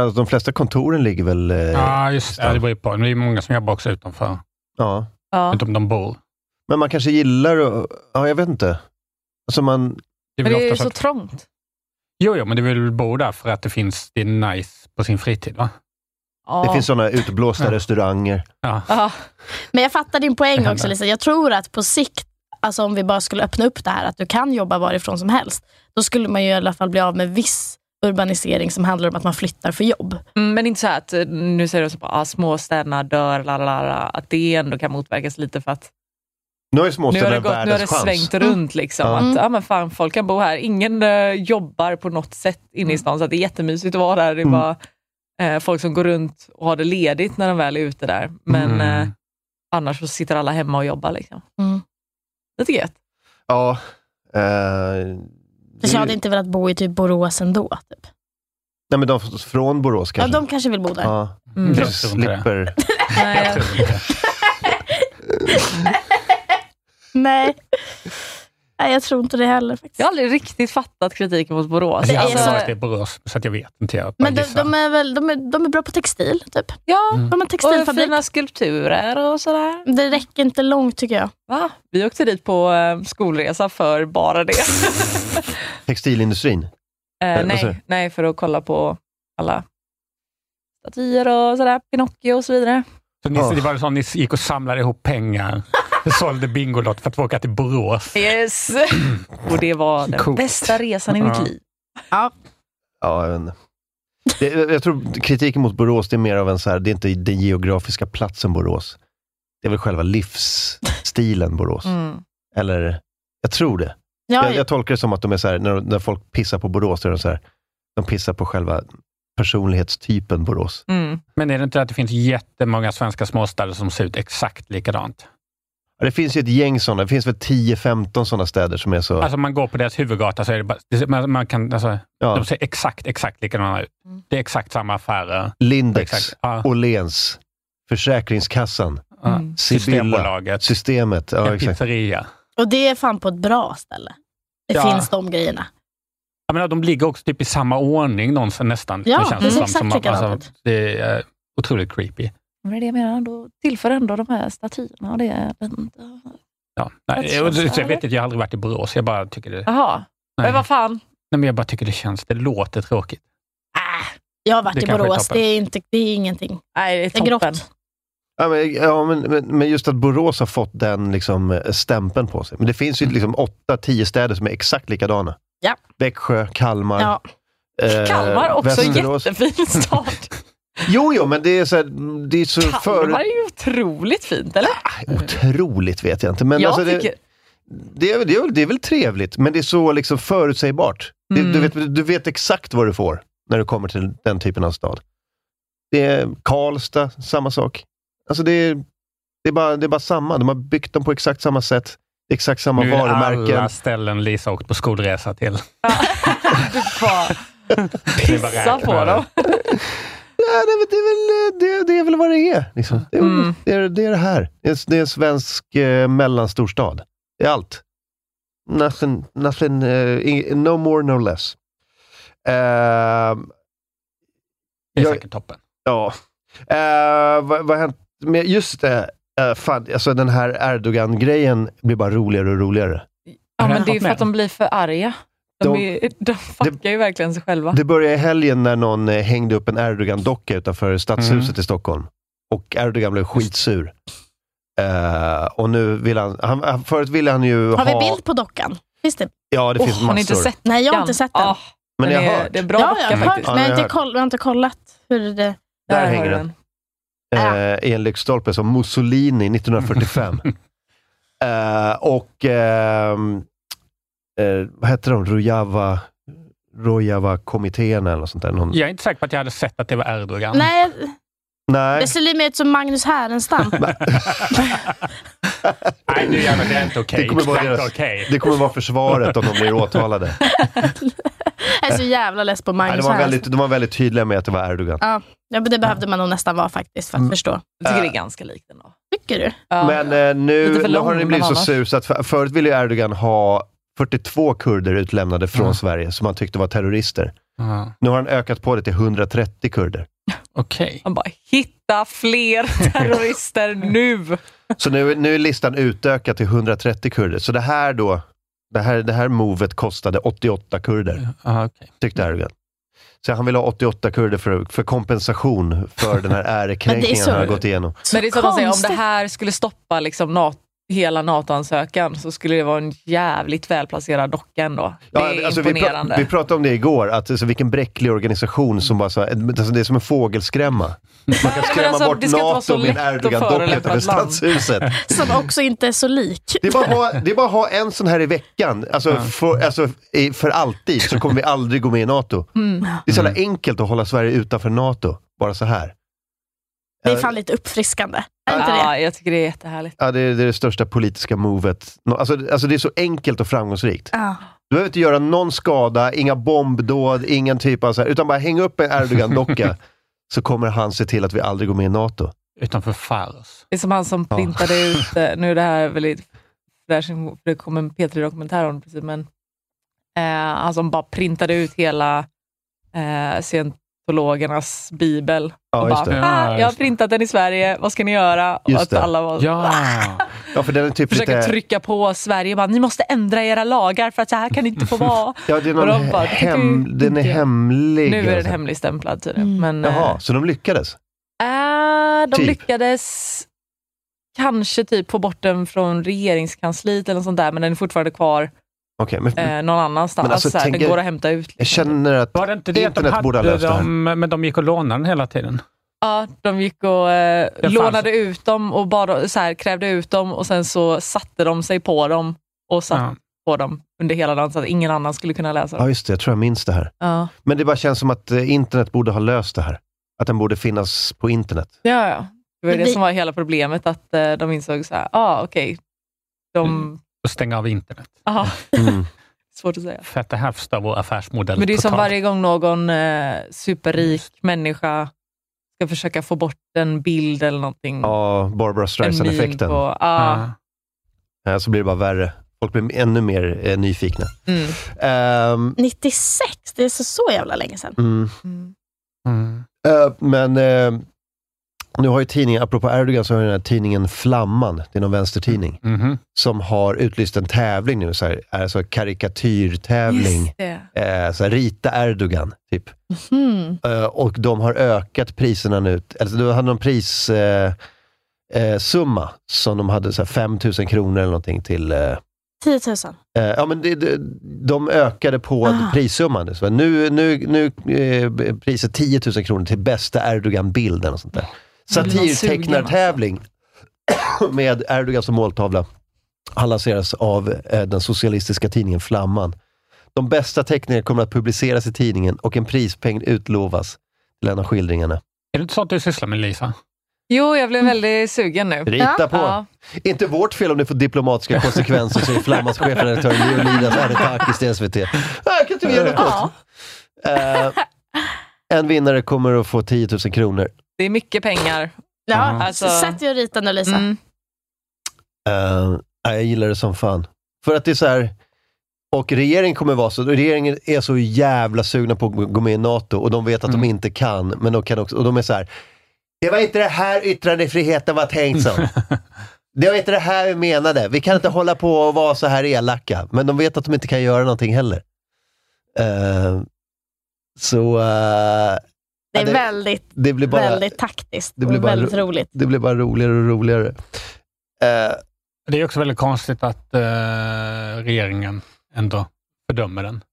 S1: Alltså, de flesta kontoren ligger väl... eh,
S3: Ja, just det.
S1: stan.
S3: Ja, det beror ju på. Det är ju många som jobbar också utanför.
S1: Ja.
S4: Ja.
S3: Inte om de bor.
S1: Men man kanske gillar att... Ja, jag vet inte. Alltså man...
S3: Det är
S4: Men
S3: väl
S4: det är ju
S3: oftast
S4: så
S3: att-
S4: trångt.
S3: Jo, jo, men du vill bo där för att det finns, det är nice på sin fritid va?
S1: Det finns sådana utblåsta restauranger.
S3: Ja. Alltså,
S4: Ja.
S2: Men jag fattar din poäng
S1: händer.
S2: också Lisa. Jag tror att på sikt, alltså om vi bara skulle öppna upp det här, att du kan jobba varifrån som helst, då skulle man ju i alla fall bli av med viss urbanisering som handlar om att man flyttar för jobb.
S4: Mm, Men inte så här att, eh, nu säger du så bara, ah, småstäderna dör, lalala, att det ändå kan motverkas lite för att
S1: Nu har ju
S4: nu har, det
S1: småstäderna
S4: gått, nu har det
S1: världens chans.
S4: svängt runt. Liksom,
S1: Ja.
S4: Att, ja, men fan, folk kan bo här. Ingen eh, jobbar på något sätt inne i stan, så att det är jättemysigt att vara där. Det är
S1: Mm.
S4: bara eh, folk som går runt och har det ledigt när de väl är ute där. Men
S1: Mm.
S4: eh, annars så sitter alla hemma och jobbar. Liksom.
S2: Mm.
S4: Lite gött.
S1: Ja. eh,
S2: För jag hade inte velat bo i typ Borås ändå. Typ.
S1: Nej, men de från Borås
S2: Ja,
S1: kanske.
S2: de kanske vill bo där.
S1: Ja.
S4: Mm.
S1: Kanske slipper.
S4: Nej,
S2: Nej. Nej, jag tror inte det heller. Faktiskt.
S4: Jag har aldrig riktigt fattat kritiken mot Borås.
S3: Jag har aldrig
S4: Alltså,
S3: varit i Borås, så att jag vet inte. Jag bara
S2: Men de,
S3: gissar.
S2: de, är väl, de, är, de är bra på textil, typ.
S4: Ja,
S3: Mm.
S2: de har
S4: och
S2: textilfabrik.
S4: fina skulpturer och sådär.
S2: Det räcker inte långt, tycker jag.
S4: Va? Vi åkte dit på eh, skolresa för
S1: <laughs>
S4: bara det.
S1: Textilindustrin.
S4: Eh,
S1: vad säger
S4: nej,
S1: du?
S4: nej, för att kolla på alla statyer och sådär, Pinocchio och så vidare.
S3: Så ni, Det var som ni gick och samlade ihop pengar, <laughs> sålde Bingolott för att få åka till
S1: <clears throat>
S3: Borås.
S4: Yes! Och det var den
S3: Coolt.
S4: bästa resan i mitt
S3: Ja.
S4: liv.
S1: Ja, jag vet inte. Det, jag tror kritiken mot Borås, det är mer av en så här, det är inte den geografiska platsen Borås. Det är väl själva livsstilen Borås. Eller, jag tror det.
S2: Ja,
S1: jag, jag tolkar det som att de är så här, när, när folk pissar på Borås, så är de så här, de pissar på själva personlighetstypen Borås.
S3: Men är det inte att det finns jättemånga svenska småstäder som ser ut exakt likadant?
S1: Ja, Det finns ju ett gäng sådana, det finns väl 10-15 sådana städer som är så...
S3: Alltså man går på deras huvudgata så är det bara, det ser- man, man kan, alltså,
S1: Ja.
S3: de ser exakt, exakt likadana ut. Det är exakt samma affärer.
S1: Lindex,
S3: Exakt, ja.
S1: Åhléns, Försäkringskassan,
S3: Mm.
S1: Sibylla, Systemet. Ja,
S3: en
S1: exakt.
S3: pizzeria.
S2: Och det är fan på ett bra ställe. Det
S3: Ja.
S2: finns de grejerna.
S3: Jag menar, de ligger också typ i samma ordning någonstans, nästan.
S2: Ja,
S3: det känns
S2: det ser
S3: som,
S2: exakt
S3: som, att-
S2: likadant
S3: alltså, Det är eh, otroligt creepy.
S4: Men det är det jag menar, då tillför ändå de här statyerna och det är inte...
S3: Ja. Nej,
S4: Att
S3: jag,
S4: känns-
S3: jag, jag vet inte, jag har aldrig varit i Borås. Jag bara tycker det, nej.
S4: Jaha, men vad fan.
S3: Nej, men jag bara tycker det känns, det låter tråkigt.
S2: Äh, Jag har varit
S3: Det
S2: i
S3: kanske är
S2: Borås.
S3: toppen.
S2: Det är, inte, det är ingenting.
S4: Nej, det är, grått.
S1: Ja, men, ja, men, men, men just att Borås har fått den liksom, eh, stämpeln på sig. Men det finns
S4: Mm.
S1: ju liksom 8-10 städer som är exakt likadana.
S2: Ja.
S1: Växjö, Kalmar.
S2: Ja.
S1: eh,
S4: Kalmar också, en
S1: Västerås. <laughs>
S4: jättefin stad.
S1: Jo, jo, men det är så, här, det är så
S4: Kalmar
S1: för...
S4: är ju otroligt fint, eller?
S1: Otroligt vet jag inte. Men
S4: jag
S1: alltså, det,
S4: tycker...
S1: det, är, väl- det, är, väl- det är väl trevligt, men det är så liksom förutsägbart. Det,
S3: Mm.
S1: du, vet, du vet exakt vad du får när du kommer till den typen av stad. Det är Karlstad, samma sak. Alltså det, är, det, är bara, det är bara samma. De har byggt dem på exakt samma sätt. Det är exakt samma
S3: nu är
S1: varumärken.
S3: alla ställen Lisa har åkt på skolresa till.
S4: Bara
S3: Det är bara
S4: pissa
S3: räkna
S4: på
S3: över.
S4: dem.
S1: Ja, nej, men det, är väl, det, det är väl vad det är. Liksom.
S4: Mm.
S1: Det, är- det, är, det är det här. Det är, det är en svensk eh, mellanstorstad. Det är allt. Nothing, nothing, eh, ing- no more, no less. Ehm,
S3: Det är
S1: jag-
S3: säkert toppen.
S1: Ja. Eh, vad, vad har hänt? Men just det, eh, fan, alltså den här Erdogan-grejen blir bara roligare och roligare.
S4: Ja,
S1: Har
S4: men
S1: den
S4: det är
S1: varit
S4: för
S1: med?
S4: att de blir för arga. De,
S1: De-
S4: är, de fuckar ju verkligen sig själva.
S1: Det började i helgen när någon eh, hängde upp en Erdogan-docka utanför stadshuset i Stockholm. Och Erdogan blev skitsur. Eh, och nu vill han, han, han... Förut ville han ju
S2: Har
S1: ha...
S2: vi bild på dockan? Finns det?
S1: Ja, det finns massor.
S2: Nej, jag har inte sett den.
S1: Men jag har
S4: Ah, är-
S1: hört.
S4: det är bra
S2: ja,
S4: docka
S2: jag har hört,
S4: faktiskt.
S2: men jag
S1: Ja,
S2: har,
S1: jag
S2: inte
S1: har
S2: koll, jag har inte kollat hur det...
S1: Där,
S4: Där
S1: hänger
S4: har
S1: den. Eh, I en lyktstolpe som Mussolini 1945. eh, och ehm, eh, vad hette de? Rojava... Rojava-kommittén eller något sånt där. Någon,
S3: Jag är inte säker på att jag hade sett att det var Erdogan.
S2: Nej,
S1: Nej.
S2: det ser lite mer ut som Magnus Härenstam.
S3: Nej, nu jävlar, det är inte okej.
S1: Det kommer vara
S3: Det är inte
S1: deras-
S3: okej.
S1: Det kommer vara försvaret om de blir
S2: <laughs>
S1: åtalade.
S2: jag är så jävla less på
S1: Nej,
S2: Magnus
S1: de, var
S2: Härenstam.
S1: väldigt, de var väldigt tydliga med att det var Erdogan.
S2: Ja, ja, men det behövde man nog nästan vara faktiskt för att förstå.
S4: Jag tycker det är ganska likt ändå.
S2: Tycker du?
S1: Men eh,
S4: Lite
S1: nu,
S4: för
S1: nu
S4: lång,
S1: har det blivit
S4: men
S1: så
S4: annars.
S1: sus att för, förut ville ju Erdogan ha 42 kurder utlämnade från Sverige som han tyckte var terrorister.
S3: Ja.
S1: Nu har han ökat på det till 130 kurder.
S3: Okej.
S4: Han bara, hitta <laughs> fler terrorister nu!
S1: Så nu, nu är listan utökad till 130 kurder. Så det här då, det här, det här movet kostade 88 kurder,
S3: Ja, okej.
S1: tyckte Erdogan. Så han vill ha 88 kurder för, för kompensation för den här
S2: Men det är
S1: ärekränkningen
S2: så-
S1: han har gått igenom.
S4: Men det är som de säger, om det
S2: konstigt.
S4: här skulle stoppa liksom nat- hela NATO-ansökan så skulle det vara en jävligt välplacerad docka ändå. Det är
S1: alltså, vi,
S4: imponerande.
S1: pra- vi pratade om det igår, att alltså, vilken bräcklig organisation som bara så, här- alltså, det är som en fågelskrämma. Man
S4: <laughs>
S1: kan skrämma
S4: alltså,
S1: bort
S4: det ska inte vara så
S1: NATO med en
S4: lätt att
S1: Erdogan-docka
S4: förolämpa
S1: utanför
S4: ett land.
S1: stadshuset.
S2: Som också inte är så lik.
S1: Det är, bara att ha, det är bara att ha en sån här i veckan, alltså, för, alltså, i, för alltid, så kommer vi aldrig gå med i NATO.
S4: Mm.
S1: Det är så jävla enkelt att hålla Sverige utanför NATO, bara så här.
S2: Det är fan lite uppfriskande. Är inte det?
S4: ja, jag tycker det är jättehärligt.
S1: Ja, det, är, det är det största politiska movet. Nå- Alltså, alltså det är så enkelt och framgångsrikt.
S2: Ja.
S1: Du behöver inte göra någon skada, inga bombdåd, ingen typ av så här, utan bara häng upp en <laughs> Erdogan-docka så kommer han se till att vi aldrig går med i NATO.
S3: Utanför Faros.
S1: <laughs>
S4: Det är som han som printade ut, eh, nu är det här väldigt där, som- för det kom en P3-dokumentär om det precis, men eh, han som bara printade ut hela eh, scientologernas bibel.
S1: Ja,
S4: och
S1: just
S4: bara,
S1: <laughs> det.
S4: "Ah,
S1: Ja,
S4: jag har
S1: just
S4: printat den i Sverige, vad ska ni göra? Och
S1: Just
S4: att
S1: det.
S4: alla var,
S1: ja, för den är typ
S4: försöker
S1: lite...
S4: trycka på Sverige, bara, ni måste ändra era lagar för att så här kan det inte
S1: <laughs>
S4: få vara.
S1: Ja, det är någon
S4: Och de bara, "Det tycker vi
S1: hem, den är
S4: inte jag."
S1: hemlig.
S4: Nu är den
S1: alltså.
S4: hemligstämplad tydligen. Men, eh,
S1: Jaha, så de lyckades?
S4: Äh, de
S1: Typ.
S4: lyckades kanske typ få bort den från regeringskansliet eller något sånt där, men den är fortfarande kvar
S1: Okej, men,
S4: eh, någon annanstans.
S1: Men alltså,
S4: så här,
S1: tänk
S4: den
S1: er-
S4: går att hämta ut.
S1: jag känner att
S3: Var det inte det att de
S1: internet borde ha
S3: hade
S1: löst det här.
S3: dem, men de gick och lånade den hela tiden?
S4: Ja, de gick och eh,
S3: fanns-
S4: lånade ut dem och bara, så här, krävde ut dem och sen så satte de sig på dem och satt på dem under hela dagen så att ingen annan skulle kunna läsa
S1: Ja,
S4: dem.
S1: just det. Jag tror jag minns det här.
S4: Ja,
S1: Men det bara känns som att eh, internet borde ha löst det här. Att den borde finnas på internet.
S4: ja. ja. Det var
S2: Men
S4: det
S2: vi-
S4: som var hela problemet, att eh, de insåg så här, ah, okej, de...
S3: Och stänga av internet.
S4: Aha,
S1: Mm.
S4: svårt att säga.
S3: För att det här förstör vår affärsmodell
S4: Men det är som
S3: totalt.
S4: varje gång någon eh, superrik människa ska försöka få bort en bild eller någonting.
S1: Ja, Ah. Barbara
S4: En
S1: Streisand-effekten.
S4: meme på- ja.
S1: Ja, Så blir det bara värre. Folk blir ännu mer eh, nyfikna.
S4: Mm.
S1: Ehm,
S2: 96, det är så, så jävla länge sedan.
S1: mm.
S3: Mm.
S1: Eh, men eh, nu har ju tidningen, apropå Erdogan, så har ju den här tidningen Flamman, det är någon vänstertidning,
S3: Mhm.
S1: som har utlyst en tävling nu, så här, alltså karikatyrtävling.
S4: Just det.
S1: Eh, så här, rita Erdogan, typ. Eh, och de har ökat priserna nu. Alltså, då hade de pris... Eh, eh, summa som de hade, så här 5 000 kronor eller någonting till eh,
S2: 10 000.
S1: Eh, Ja, men det, det, de ökade på
S2: Ah.
S1: prissumman. nu, Så nu, nu, nu eh, priset 10 000 kronor till bästa Erdogan-bilden och sånt där.
S4: blir man
S1: Satirtecknartävling alltså. <clears throat> med Erdogan som måltavla. Han lanseras av eh, den socialistiska tidningen Flamman. De bästa teckningarna kommer att publiceras i tidningen och en prispeng utlovas till en av skildringarna.
S3: Är det inte sånt du sysslar med, Lisa?
S4: Jo, jag blev väldigt sugen nu.
S1: Mm. Rita på!
S4: Ja.
S1: Inte vårt fel om det får diplomatiska konsekvenser, säger Flammans chefredaktör Leonidas Aretakis till SVT. Jag kan inte vi göra något åt? Eh, en vinnare kommer att få 10 000 kronor.
S4: Det är mycket pengar.
S2: Ja,
S4: alltså- Mm.
S2: Sätt dig och rita nu Lisa.
S1: Eh, jag gillar det som fan. För att det är så här, och regeringen kommer vara så, regeringen är så jävla sugna på att gå med i NATO och de vet att de inte kan, men de kan också, och de är så här, det var inte det här yttrandefriheten var tänkt som. Det var inte det här vi menade. Vi kan inte hålla på och vara så här elaka. Men de vet att de inte kan göra någonting heller. Eh, så... eh,
S2: Det är
S1: ja,
S2: väldigt,
S1: det blir bara-
S2: väldigt taktiskt
S1: det blir
S2: och
S1: bara
S2: väldigt
S1: ro-
S2: roligt.
S1: Det blir bara roligare och roligare. Eh,
S3: Det är också väldigt konstigt att eh, regeringen ändå fördömer den.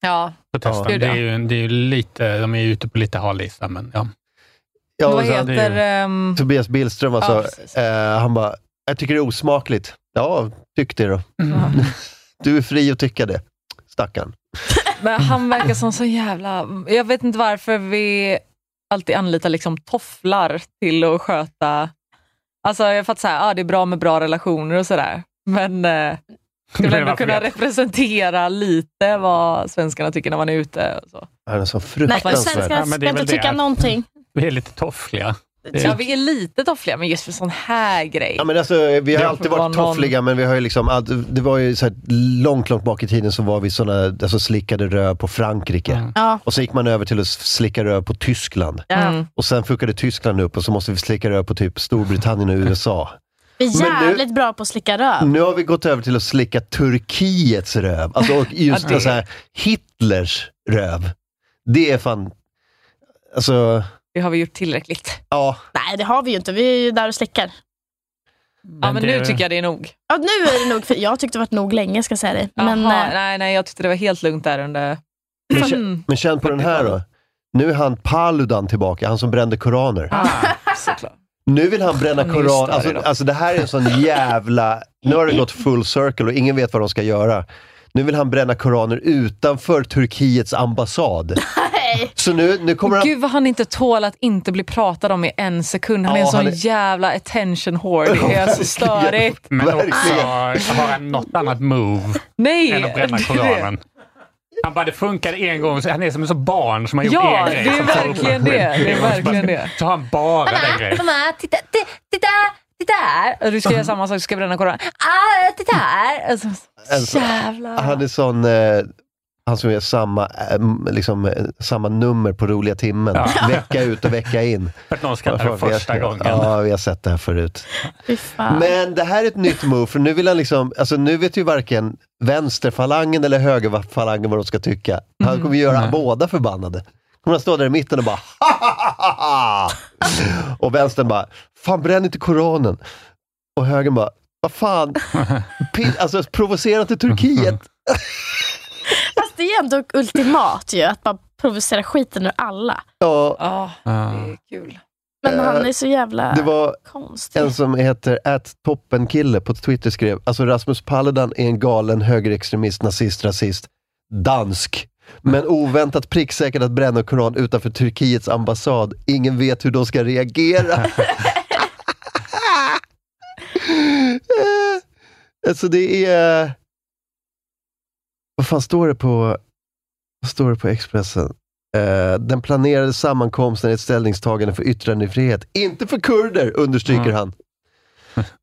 S4: Ja.
S3: Protesten.
S4: Ja.
S3: det, är ju, en- det är ju lite, de är ju ute på lite halista, men ja.
S1: ja,
S4: Vad
S1: och sen-
S4: heter... ehm,
S1: Tobias Billström,
S4: Ja,
S1: alltså,
S4: precis.
S1: eh, han bara, jag tycker det är osmakligt. Ja, tyck det då. <laughs> Du är fri att tycka det. Stackarn.
S4: Men han verkar som så jävla... Jag vet inte varför vi alltid anlitar liksom tofflar till att sköta... Alltså jag fattar såhär, ah, det är bra med bra relationer och sådär. Men eh,
S3: Det
S4: skulle
S3: <laughs> blir
S4: väl ändå
S3: varför
S4: kunna
S3: jag-
S4: representera lite vad svenskarna tycker när man är ute. Och så.
S1: Han är så
S2: Nej,
S1: fruktansvärd.
S2: svenskarna ska inte tycka någonting.
S3: Vi är lite toffliga. Det
S4: Ja,
S3: är,
S4: vi är lite toffliga, men just för sån här grej.
S1: Ja, men alltså, vi har
S4: Det
S1: alltid
S4: får
S1: varit
S4: vara någon-
S1: toffliga, men vi har ju liksom, all- det var ju så här, långt, långt bak i tiden så var vi såna, alltså slickade röv på Frankrike.
S2: Ja. Mm.
S1: Och så gick man över till att slicka röv på Tyskland.
S2: Ja.
S1: Och sen fuckade Tyskland upp och så måste vi slicka röv på typ Storbritannien och USA.
S2: Vi
S1: Men
S2: är
S1: nu-
S2: jävligt bra på att slicka röv.
S1: Nu har vi gått över till att slicka Turkiets röv. Alltså
S4: <laughs>
S1: och just
S2: Ja, det-
S1: så här, Hitlers röv. Det är fan... Alltså,
S4: Det har vi gjort tillräckligt.
S1: ja.
S2: Nej, det har vi ju inte. Vi är ju där och slickar.
S4: Ja, men nu tycker jag det är nog.
S2: Ja, nu är det nog, för jag tyckte det varit nog länge ska jag säga dig. Men,
S4: Jaha,
S2: eh,
S4: nej, nej, jag tyckte det var helt lugnt där under...
S1: Men, känn, men känn på den här då. Nu är han Paludan tillbaka, han som brände koraner.
S4: Ah,
S1: <laughs>
S4: Såklart.
S1: Nu vill han bränna
S4: Han är ju
S1: koran.
S4: större
S1: Alltså,
S4: då.
S1: alltså det här är en sån jävla... Nu har det gått full circle och ingen vet vad de ska göra. Nu vill han bränna koraner utanför
S4: <laughs>
S1: Turkiets ambassad. Så nu, nu kommer han...
S4: Gud vad han inte tål att inte bli pratad om i en sekund. Han
S1: Ja,
S4: är en sån
S1: han är-
S4: jävla attention whore. Det är så störigt.
S3: men också
S1: Verkligen.
S3: har han något annat move
S4: Nej!
S3: än att bränna
S4: det-
S3: koranen. Han bara, det funkar en gång. så- Han är som ett sånt barn som har gjort
S4: Ja,
S3: en
S4: det
S3: grej.
S4: är
S3: som tar upp
S4: verkligen
S3: en
S4: det.
S3: skit.
S4: Det är verkligen det. <laughs>
S3: Så har han bara den grejen.
S13: Mamma, titta, ti- titta,
S4: titta här! Och du ska göra samma sak, du ska bränna koranen. Ah, titta här! Alltså,
S1: Alltså, Han
S4: jävlar.
S1: hade sån... Eh, han som gör samma, eh, m- liksom, eh, samma nummer på roliga timmen.
S3: Ja.
S1: <laughs> Vecka ut och vecka in.
S3: För att någon skrattar
S1: Ja, vi har-
S3: första gången.
S1: Ja, vi har sett det här förut. Men det här är ett nytt move, för nu vill han liksom, alltså nu vet ju varken vänsterfalangen eller högerfalangen vad de ska tycka. Han
S3: Mm.
S1: kommer göra båda förbannade. Kommer han stå där i mitten och bara "Hahaha!" <laughs> Och vänstern bara, fan bränn inte Koranen. Och högern bara, vad
S3: <laughs>
S1: fan, Pi- alltså provocera till Turkiet.
S2: Fast det är ändå ultimat ju, att bara provocera skiten ur alla.
S1: Ja.
S3: det
S4: är kul.
S2: Men han är så jävla...
S1: Eh, Det var
S2: konstigt.
S1: en som heter att toppenkille på Twitter skrev, alltså Rasmus Paludan är en galen högerextremist, nazist, rasist, dansk. Men oväntat pricksäkert att bränna koran utanför Turkiets ambassad. Ingen vet hur de ska reagera. <laughs> Eh, alltså det är... Vad fan står det på, vad står det på Expressen? Eh, den planerade sammankomsten är ett ställningstagande för yttrandefrihet, inte för kurder, understryker han.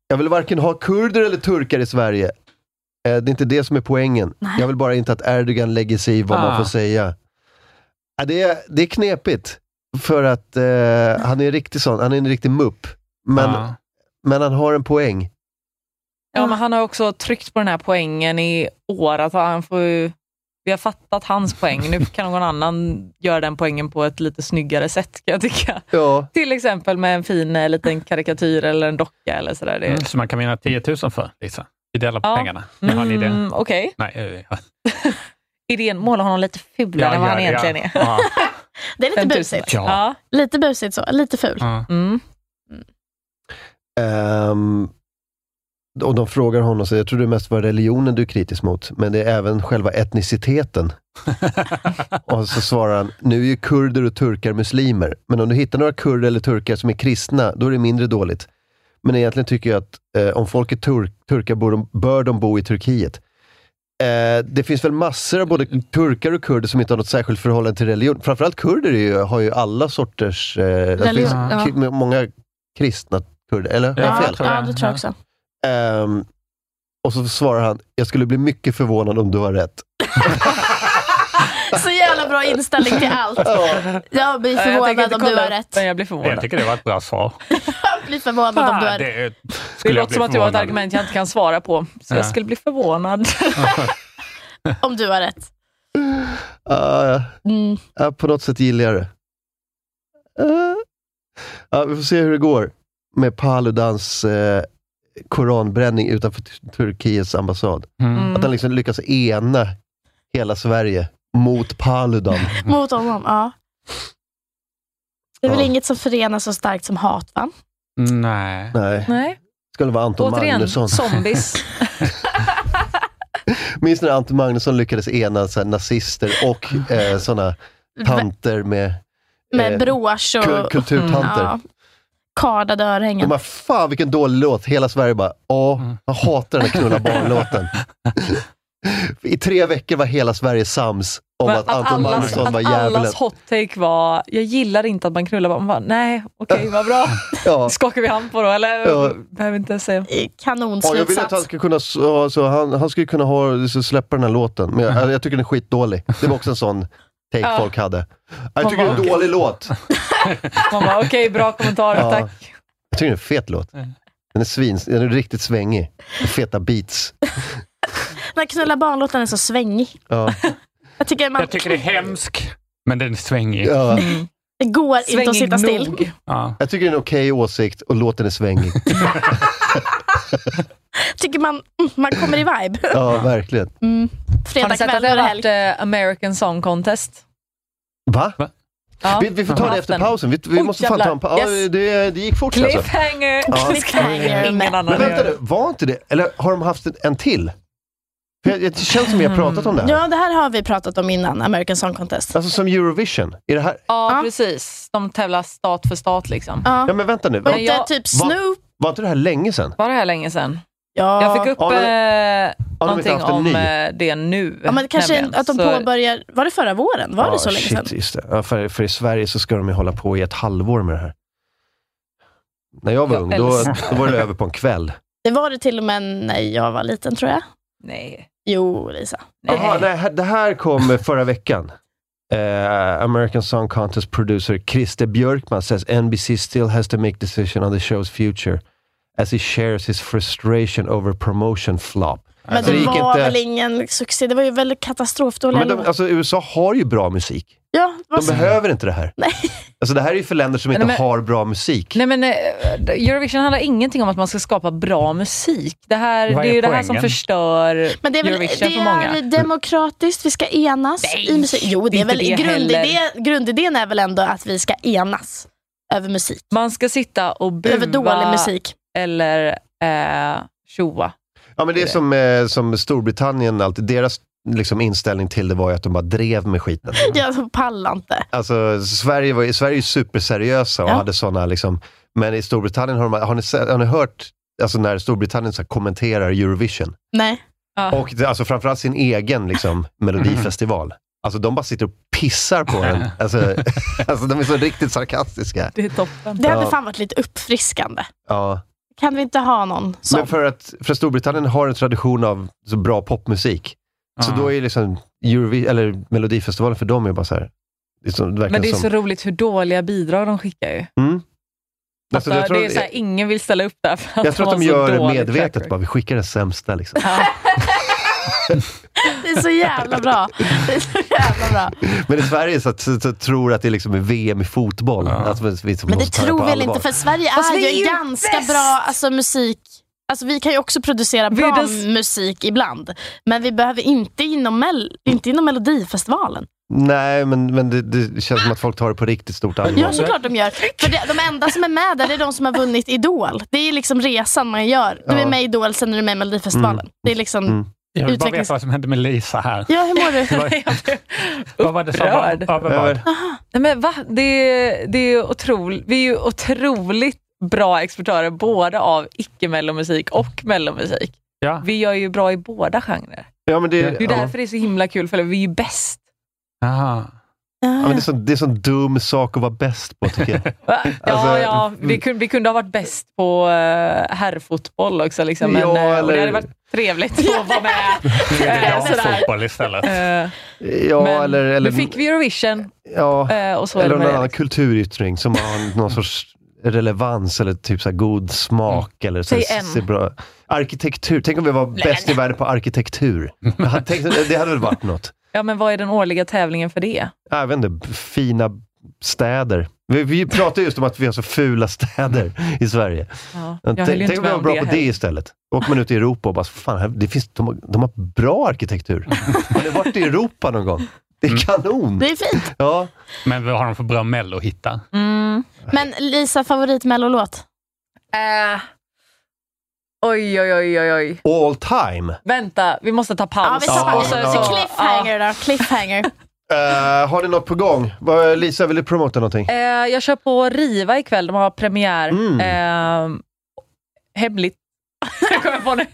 S1: Jag vill varken ha kurder eller turkar i Sverige. Eh, det är inte det som är poängen. Jag vill bara inte att Erdogan lägger sig i vad
S3: Ah.
S1: man får säga. Ja, det, är, det är knepigt, för att eh, han är en riktig sån, han är en riktig mupp. Men,
S3: Ah.
S1: men han har en poäng.
S4: Ja, men han har också tryckt på den här poängen i år. Att alltså, han får, ju- vi har fattat hans poäng. Nu kan någon annan göra den poängen på ett lite snyggare sätt, kan jag tycka.
S1: Ja.
S4: Till exempel med en fin eh, liten karikatyr eller en docka. Eller sådär. Det,
S3: Mm, som man kan vinna 10 000 för, Lisa. Vi delar på
S4: Ja.
S3: pengarna. Jag har en idé.
S4: Mm, okej.
S3: Nej, eh, ja.
S4: Idén, måla honom lite fulare
S3: Ja,
S4: än vad
S3: ja,
S4: han
S3: ja.
S4: egentligen är.
S3: Ja.
S2: Det är lite
S4: 5000.
S2: busigt.
S3: Ja.
S2: Lite busigt så, lite ful.
S4: Mm.
S1: Ehm, och de frågar honom, så jag tror det mest var religionen du är kritisk mot, men det är även själva etniciteten. och så svarar han, nu är ju kurder och turkar muslimer, men om du hittar några kurder eller turkar som är kristna, då är det mindre dåligt. Men egentligen tycker jag att eh, om folk är tur- turkar bör de, bör de bo i Turkiet. Eh, det finns väl massor av både turkar och kurder som inte har något särskilt förhållande till religion. Framförallt kurder är ju, har ju alla sorters... Eh, det finns
S2: Religion, ja.
S1: ki- med många kristna kurder, eller? Har jag
S2: Ja,
S1: fel?
S2: ja, det tror jag också.
S1: Ehm, och så svarar han, jag skulle bli mycket förvånad om du har rätt.
S2: Så jävla bra inställning till allt.
S1: <laughs>
S2: Jag blir
S4: Ja, jag tänker
S2: förvånad
S4: inte
S2: om du
S4: kolla
S2: har
S4: upp,
S2: rätt.
S4: Men jag blir förvånad.
S3: Jag tycker det var ett bra svar.
S2: Jag blir förvånad om du har
S3: Fan,
S2: rätt.
S3: det är-
S4: Det
S3: skulle jag
S4: låter
S3: bli
S4: som att det var ett
S3: förvånad.
S4: argument jag inte kan svara på, så
S3: Ja.
S4: jag skulle bli förvånad.
S2: Om du har rätt. Mm.
S1: Ah, ah, på något sätt gillar jag det. Ah. Ah, vi får se hur det går med Paludans eh, koranbränning utanför Tur- Turkiets ambassad.
S3: Mm.
S1: Att han liksom lyckas ena hela Sverige mot Paludan.
S2: Mot honom, ja. Det är väl
S1: Ja.
S2: inget som förenar så starkt som hat, va?
S3: Nej.
S1: Nej.
S4: Nej.
S1: Skulle vara Anton
S4: Återigen,
S1: Magnusson.
S4: zombies.
S1: Minns ni när Anton Magnusson lyckades ena så här, nazister och eh, sådana tanter med...
S2: Med
S1: eh,
S2: brosch och...
S1: kul- kulturtanter.
S4: Mm,
S2: Ja. Kardade
S1: De
S2: örhängen.
S1: bara, fan vilken dålig låt. Hela Sverige bara, ja, jag hatar den här knulla barnlåten. <laughs> I tre veckor var hela Sverige sams om
S4: Men
S1: att, Anton
S4: allas-
S1: Magnusson var
S4: att
S1: djävulen.
S4: allas hot take var, jag gillar inte att man knullar barn. Man bara, Nej, okej, vad
S1: <laughs>
S4: bra.
S1: Ja.
S4: Skakar vi hand på då, eller?
S1: Ja.
S4: Behöver inte säga.
S1: Ja, jag vill att han
S2: Kanonslutsats.
S1: ska kunna, så, så, han, han skulle kunna ha, så släppa den här låten, men jag, jag tycker den är skitdålig. Det var också en sån take
S4: Mm. Ja.
S1: folk hade. Jag
S4: Man
S1: tycker det är en
S4: bara,
S1: dålig låt.
S4: Man bara, okej, bra kommentar,
S1: Ja.
S4: tack.
S1: Jag tycker det är en fet låt. Den är, svins, den är riktigt svängig. Feta beats.
S2: Den här knulla barnlåten är så svängig.
S1: Ja.
S2: Jag tycker man...
S3: Jag tycker det är hemsk, men den är svängig.
S1: Ja.
S2: Det går inte
S4: Svängig
S2: att sitta still.
S4: nog.
S3: Ja.
S1: Jag tycker det är en okej åsikt och låten är svängig.
S2: tycker man, mm, man kommer i vibe.
S1: Ja, verkligen.
S2: Mm.
S4: Har ni
S2: Fredag
S4: sett att
S2: kväll
S4: det har
S2: och
S4: varit
S2: helg.
S4: eh, American Song Contest?
S1: Va?
S4: Ja.
S1: Vi, vi får ta
S4: Har
S1: det
S4: haft
S1: efter
S4: den.
S1: pausen. Vi, vi
S4: Oj,
S1: måste fan
S4: jävlar.
S1: ta en paus. Ja,
S4: Yes.
S1: det, det gick fort alltså.
S4: Cliffhanger! <laughs>
S1: Ja.
S2: Cliffhanger.
S4: Ingen annan
S1: Men vänta
S4: gör
S1: nu, var inte det, eller har de haft en, en till? För jag, det känns som vi har pratat om det här.
S2: Mm. Ja, det här har vi pratat om innan, American Song Contest.
S1: Alltså som Eurovision. Är det här?
S4: Ja, precis. De tävlar stat för stat. liksom.
S2: Ja.
S1: Ja men vänta nu.
S2: Var
S1: Var,
S4: Men
S2: inte
S4: jag-
S2: typ
S1: var,
S2: Snoop?
S1: var inte det här länge sedan?
S4: Var det här länge sedan?
S2: Ja.
S4: Jag fick upp
S1: Har de-
S4: eh,
S1: inte
S4: någonting
S1: haft en
S4: om
S1: ny?
S4: eh, det nu.
S2: Ja, men kanske
S4: nämligen.
S2: att de
S4: Så-
S2: påbörjar... Var det förra våren? Var
S1: Ja,
S2: det så länge
S1: Ah, shit,
S2: sedan?
S1: Just det. Ja, för, för i Sverige så ska de ju hålla på i ett halvår med det här. När jag var
S2: Jag
S1: ung, då,
S2: älskar-
S1: då var det över på en kväll.
S2: Det var det till och med när jag var liten, tror jag.
S4: Nej.
S2: Jo, Lisa.
S1: Jaha, det, här- det här kom förra veckan. Eh, American Song Contest producer Christer Björkman says NBC still has to make decision on the show's future as he shares his frustration over promotion flop.
S2: Men
S1: Så
S2: det
S1: gick
S2: var
S1: inte-
S2: väl ingen succé? Det var ju väldigt katastrofdåliga
S1: Men de, alltså, USA har ju bra musik.
S2: Ja,
S1: De
S2: vad så-
S1: behöver inte det här. Alltså, det här är ju för länder som inte
S4: Nej, men-
S1: har bra musik.
S4: Nej men eh, Eurovision handlar ingenting om att man ska skapa bra musik. Det, här, det
S1: Vad
S4: är,
S1: är
S4: ju det här som
S1: poängen?
S4: förstör
S2: Men det är väl
S4: Eurovision
S2: det
S4: för många.
S2: är demokratiskt, vi ska enas i musik. Jo, det är
S4: inte
S2: väl,
S4: det
S2: grundidé,
S4: heller.
S2: grundidén är väl ändå att vi ska enas över musik.
S4: Man ska sitta och bua
S2: Över dålig musik.
S4: eller eh, tjoa.
S1: Ja, men det är som, eh, som Storbritannien alltid. Deras liksom, inställning till det var ju att de bara drev med skiten.
S2: Jag pallar inte.
S1: Alltså, Sverige, var, ju- Sverige är ju superseriösa och hade sådana, liksom, men i Storbritannien har, de, har, ni, se- har ni hört alltså, när Storbritannien så här, kommenterar Eurovision?
S2: Nej.
S4: Ah.
S1: Och det, alltså, framförallt sin
S4: <laughs>
S1: egen liksom, melodifestival. Alltså de bara sitter och pissar på den.
S4: <laughs>
S1: Alltså, <laughs> alltså de är så riktigt sarkastiska.
S4: Det är toppen.
S2: Det hade
S1: Ja.
S2: fan varit lite uppfriskande.
S1: Ja.
S2: Kan vi inte ha någon som...
S1: Men för att för Storbritannien har en tradition av så bra popmusik. Så då är ju liksom Eurovi- eller Melodifestivalen för dem är bara så här. Det är som, verkligen
S4: Men det är
S1: som,
S4: så roligt hur dåliga bidrag de skickar ju.
S1: Mm. Alltså, jag
S4: Alltså,
S1: tror-
S4: det är såhär, ingen vill ställa upp där för att
S1: Jag tror att de
S4: har så
S1: gör det
S4: dålig track
S1: medvetet.
S4: record.
S1: Bara, vi skickar den sämsta. Liksom.
S2: Det är så jävla
S1: <laughs>
S2: bra. Det är så jävla bra.
S1: Men i Sverige så, så, så tror att det liksom är VM i fotboll. Alltså, vi, vi
S2: Men det
S1: måste ta
S2: tror
S1: på
S2: väl
S1: allvar.
S2: inte, för Sverige
S4: Fast
S2: är
S4: vi
S2: ju,
S4: är ju
S2: ganska
S4: bäst!
S2: bra alltså, musik. Alltså, vi kan ju också producera
S4: Vi
S2: bra
S4: är dess-
S2: musik ibland, men vi behöver inte inom, mel- inte inom Melodifestivalen.
S1: Nej, men, men det, det känns som att folk tar det på riktigt stort allvar.
S2: Ja, såklart de gör. För det, de enda som är med där, det är de som har vunnit Idol. Det är liksom resan man gör. Du
S3: Ja.
S2: är med i Idol, sen är du med i Melodifestivalen.
S3: Mm.
S2: Det är liksom
S3: Jag vill bara
S2: utvecklings...
S3: veta vad som hände med Lisa här.
S2: <laughs> Ja, hur mår du?
S4: <laughs>
S3: Vad- Vad var det som var
S4: Upprörd.
S3: över vad?
S4: Nej, men va? Det, är- det är otroligt. Vi är ju otroligt bra exportörer både av icke-mellomusik och mellomusik.
S3: Ja.
S4: Vi gör ju bra i båda genrer.
S1: Ja, men
S4: Det
S1: det,
S4: är ju
S1: ja.
S4: därför det är så himla kul, för vi är ju bäst.
S1: Ja, men det är så- det är en sån dum sak att vara bäst på, tycker
S4: <laughs>
S1: jag.
S4: Va? Ja,
S1: Alltså,
S4: ja vi,
S1: mm.
S4: kunde, vi kunde ha varit bäst på uh, herrfotboll också, liksom, men,
S1: Ja,
S4: eh, och
S1: eller-
S4: det hade varit trevligt att vara med.
S1: <laughs>
S3: Det är
S4: eh,
S3: jag för
S4: sådär.
S3: fotboll istället.
S4: Eh,
S1: Ja,
S4: men
S1: eller, eller,
S4: nu fick vi Eurovision.
S1: ja,
S4: eh, och så är det
S1: eller
S4: med
S1: någon
S4: det.
S1: annan kulturyttring som
S4: <laughs>
S1: har någon sorts relevans eller typ så här god smak. Eller så här,
S4: Mm. Säg en.
S1: ser bra. Arkitektur. Tänk om vi var bäst i världen på
S4: <laughs>
S1: arkitektur. Jag hade tänkt- det hade väl varit något.
S4: Ja, men vad är den årliga tävlingen för det?
S1: Jag vet inte, fina städer. Vi, vi pratar just om att vi har så fula städer i Sverige.
S4: Ja, jag
S1: Tänk
S4: höll ju inte
S1: tänk om vi
S4: med
S1: var
S4: om
S1: bra
S4: det
S1: på det
S4: heller.
S1: istället. Åker man ut i Europa och bara, fan, här, det finns, de, har- de har bra arkitektur. Har ni varit i Europa någon gång? Det är kanon!
S2: Det är fint.
S1: Ja.
S3: Men vad har de för bra mellohittar?
S2: Men Lisa, favoritmellolåt? Eh.
S4: Uh, oj, oj, oj, oj, oj.
S1: All time!
S4: Vänta, vi måste ta paus.
S2: Ja, vi tar
S4: Och
S2: paus.
S4: så-
S1: Ja.
S4: så-
S2: Cliffhanger då, cliffhanger.
S1: Eh, har ni något på gång? Vad- Lisa, vill du promota någonting?
S4: Eh, jag kör på Riva ikväll, de har premiär.
S1: Mm.
S4: Eh, hemligt. <laughs> jag kommer på nu.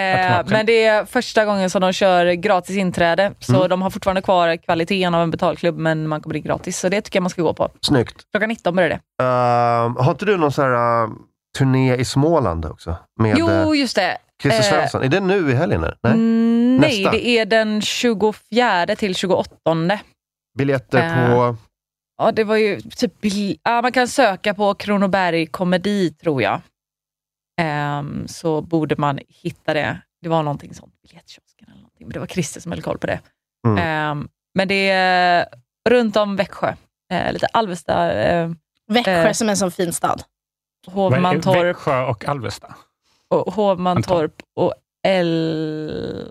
S4: Eh, men det är första gången som de kör gratis inträde, så
S1: Mm.
S4: de har fortfarande kvar kvaliteten av en betalklubb, men man kommer in gratis. Så det tycker jag man ska gå på.
S1: Snyggt.
S4: Klockan 19 börjar det.
S1: Eh, har inte du någon sån här eh, turné i Småland också? Med
S4: jo,
S1: eh,
S4: just det.
S1: Christer
S4: Eh, mm.
S1: Svensson? Är det nu i helgen? eller? Nej?
S4: Nej,
S1: Nästa.
S4: det är den 24 till 28.
S1: Biljetter
S4: Eh,
S1: på...
S4: Ja, det var ju typ... bil- Ja, man kan söka på Kronoberg komedi, tror jag. Ehm, så borde man hitta det. Det var någonting sånt, biljettkiosken eller någonting. Men det var Christer som höll koll på det.
S1: Mm.
S4: <laughs> Ehm, men det är runt om Växjö. Eh, lite Alvesta. eh,
S2: Växjö
S4: eh,
S2: som är en sån fin stad.
S4: Hovmantorp.
S3: Växjö och Alvesta.
S4: Och Hovmantorp och El...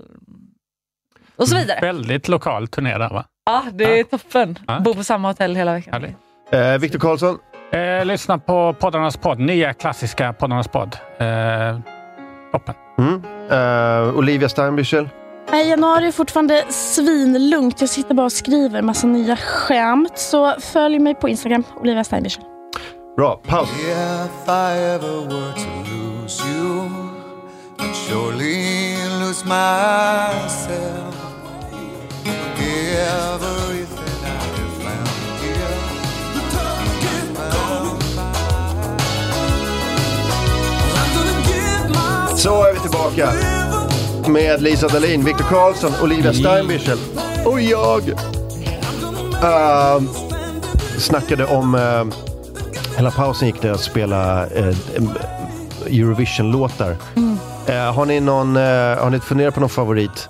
S4: Och så vidare.
S3: Väldigt lokal turné där va?
S4: Ja, det är toppen.
S3: Mm. Ja.
S4: Bo på samma hotell hela veckan.
S1: Eh, Viktor Karlsson?
S3: Eh, lyssna på poddarnas podd. Nya klassiska poddarnas podd. Eh, toppen.
S1: Mm. Eh, Olivia Steinbüchel?
S2: Nej, januari är fortfarande svinlugnt. Jag sitter bara och skriver massa nya skämt. Så följ mig på Instagram, Olivia Steinbüchel.
S1: Bra, paus.
S14: If I ever were to lose you, I'd surely lose myself. Everything I have found here. I found by
S1: tillbaka med Lisa Dahlin, Victor Karlsson, Olivia Steinbichel och jag. Ehm, snackade om... ehm, hela pausen gick till att spela eh, em- Eurovision-låtar. Eh, har, ni någon, eh, har ni funderat på någon favorit?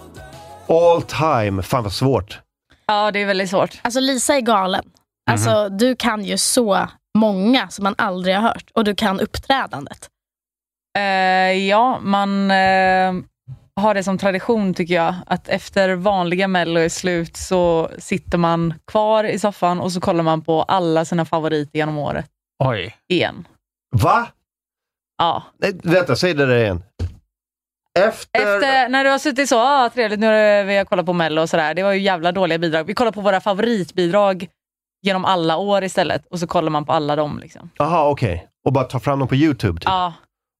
S1: All time. Fan vad svårt.
S2: Ja, det är väldigt svårt. Alltså Lisa är galen. Alltså,
S4: Mhm.
S2: du kan ju så många som man aldrig har hört. Och du kan uppträdandet.
S4: Eh, ja, man eh, har det som tradition tycker jag, att efter vanliga mello är slut så sitter man kvar i soffan och så kollar man på alla sina favoriter genom året
S3: Oj.
S4: igen.
S1: Va?
S4: Ja.
S1: Nej, vänta, säg det där igen. Efter...
S4: Efter, Eh, när du har suttit så, ah, trevligt, nu har det- vi har kollat på mello och sådär. Det var ju jävla dåliga bidrag. Vi kollar på våra favoritbidrag genom alla år istället och så kollar man på alla dem. Liksom.
S1: Jaha, okej. Och bara ta fram dem på YouTube? Typ.
S4: Ja,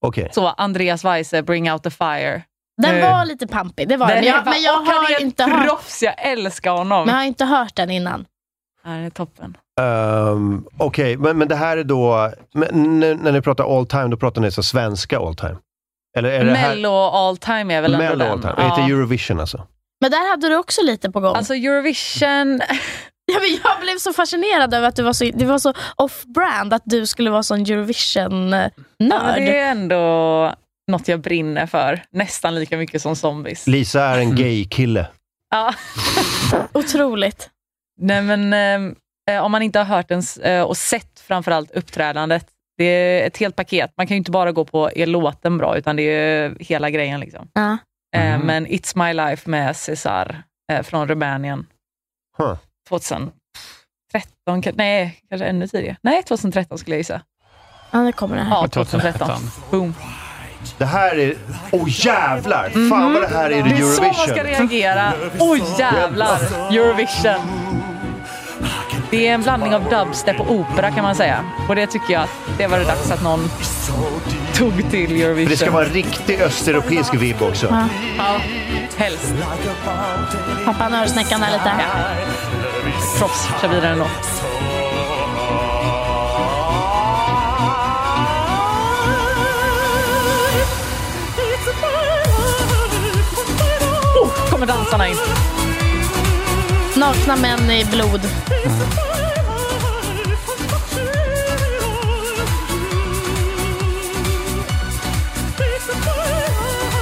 S1: Okej.
S4: så Andreas Weise, Bring Out The Fire.
S2: Den
S4: Nu.
S2: var lite pampig, det var den.
S4: Eh. Den
S2: Men
S4: är
S2: jag,
S4: bara-
S2: men jag
S4: och han är
S2: har
S4: ett
S2: inte hört,
S4: proffs, jag älskar honom.
S2: men jag har inte hört den innan.
S4: Ja, det är toppen.
S1: Ehm, Okej, men, men det här är då... Men, när, när ni pratar all time, då pratar ni så svenska all time? Eller är det här...
S4: Mello all time är väl ändå
S1: Mello
S4: den.
S1: all time.
S4: Ja.
S1: Inte Eurovision alltså?
S2: Men där hade du också lite på gång.
S4: Alltså Eurovision...
S2: <laughs> ja, men jag blev så fascinerad över att du var så, det var så off-brand att du skulle vara sån Eurovision-nörd.
S4: Ja, men det är ändå något jag brinner för. Nästan lika mycket som zombies.
S1: Lisa är en gay-kille.
S4: Ja.
S2: Otroligt.
S4: Nej, men, eh, om man inte har hört ens, eh, och sett framförallt uppträdandet, det är ett helt paket. Man kan ju inte bara gå på är låten bra, utan det är ju hela grejen. Liksom.
S2: Ja.
S4: Eh,
S2: Mhm.
S4: Men It's My Life med Cesar eh, från Rumänien
S1: Huh.
S4: 2013, ka- nej kanske ännu tidigare. Nej, 2013 skulle jag gissa.
S2: Ja, det kommer det här.
S4: Ja, 2013. Boom.
S1: Det här är... Åh oh, jävlar! Fan vad det här är
S4: Mhm. Det är så man
S1: Eurovision. Mm.
S4: ska reagera. Oj jävlar, Eurovision. Det är en blandning av dubstep och opera kan man säga. Och det tycker jag att det var det dags att någon tog till Eurovision.
S1: För det ska vara en riktig östeuropeisk vibb också.
S2: Ja.
S4: Ja, helst.
S2: Pappa Nörsnäckan är lite.
S4: Proffs, kör vidare ändå. Oh, kommer dansarna in.
S2: Nakna män i blod.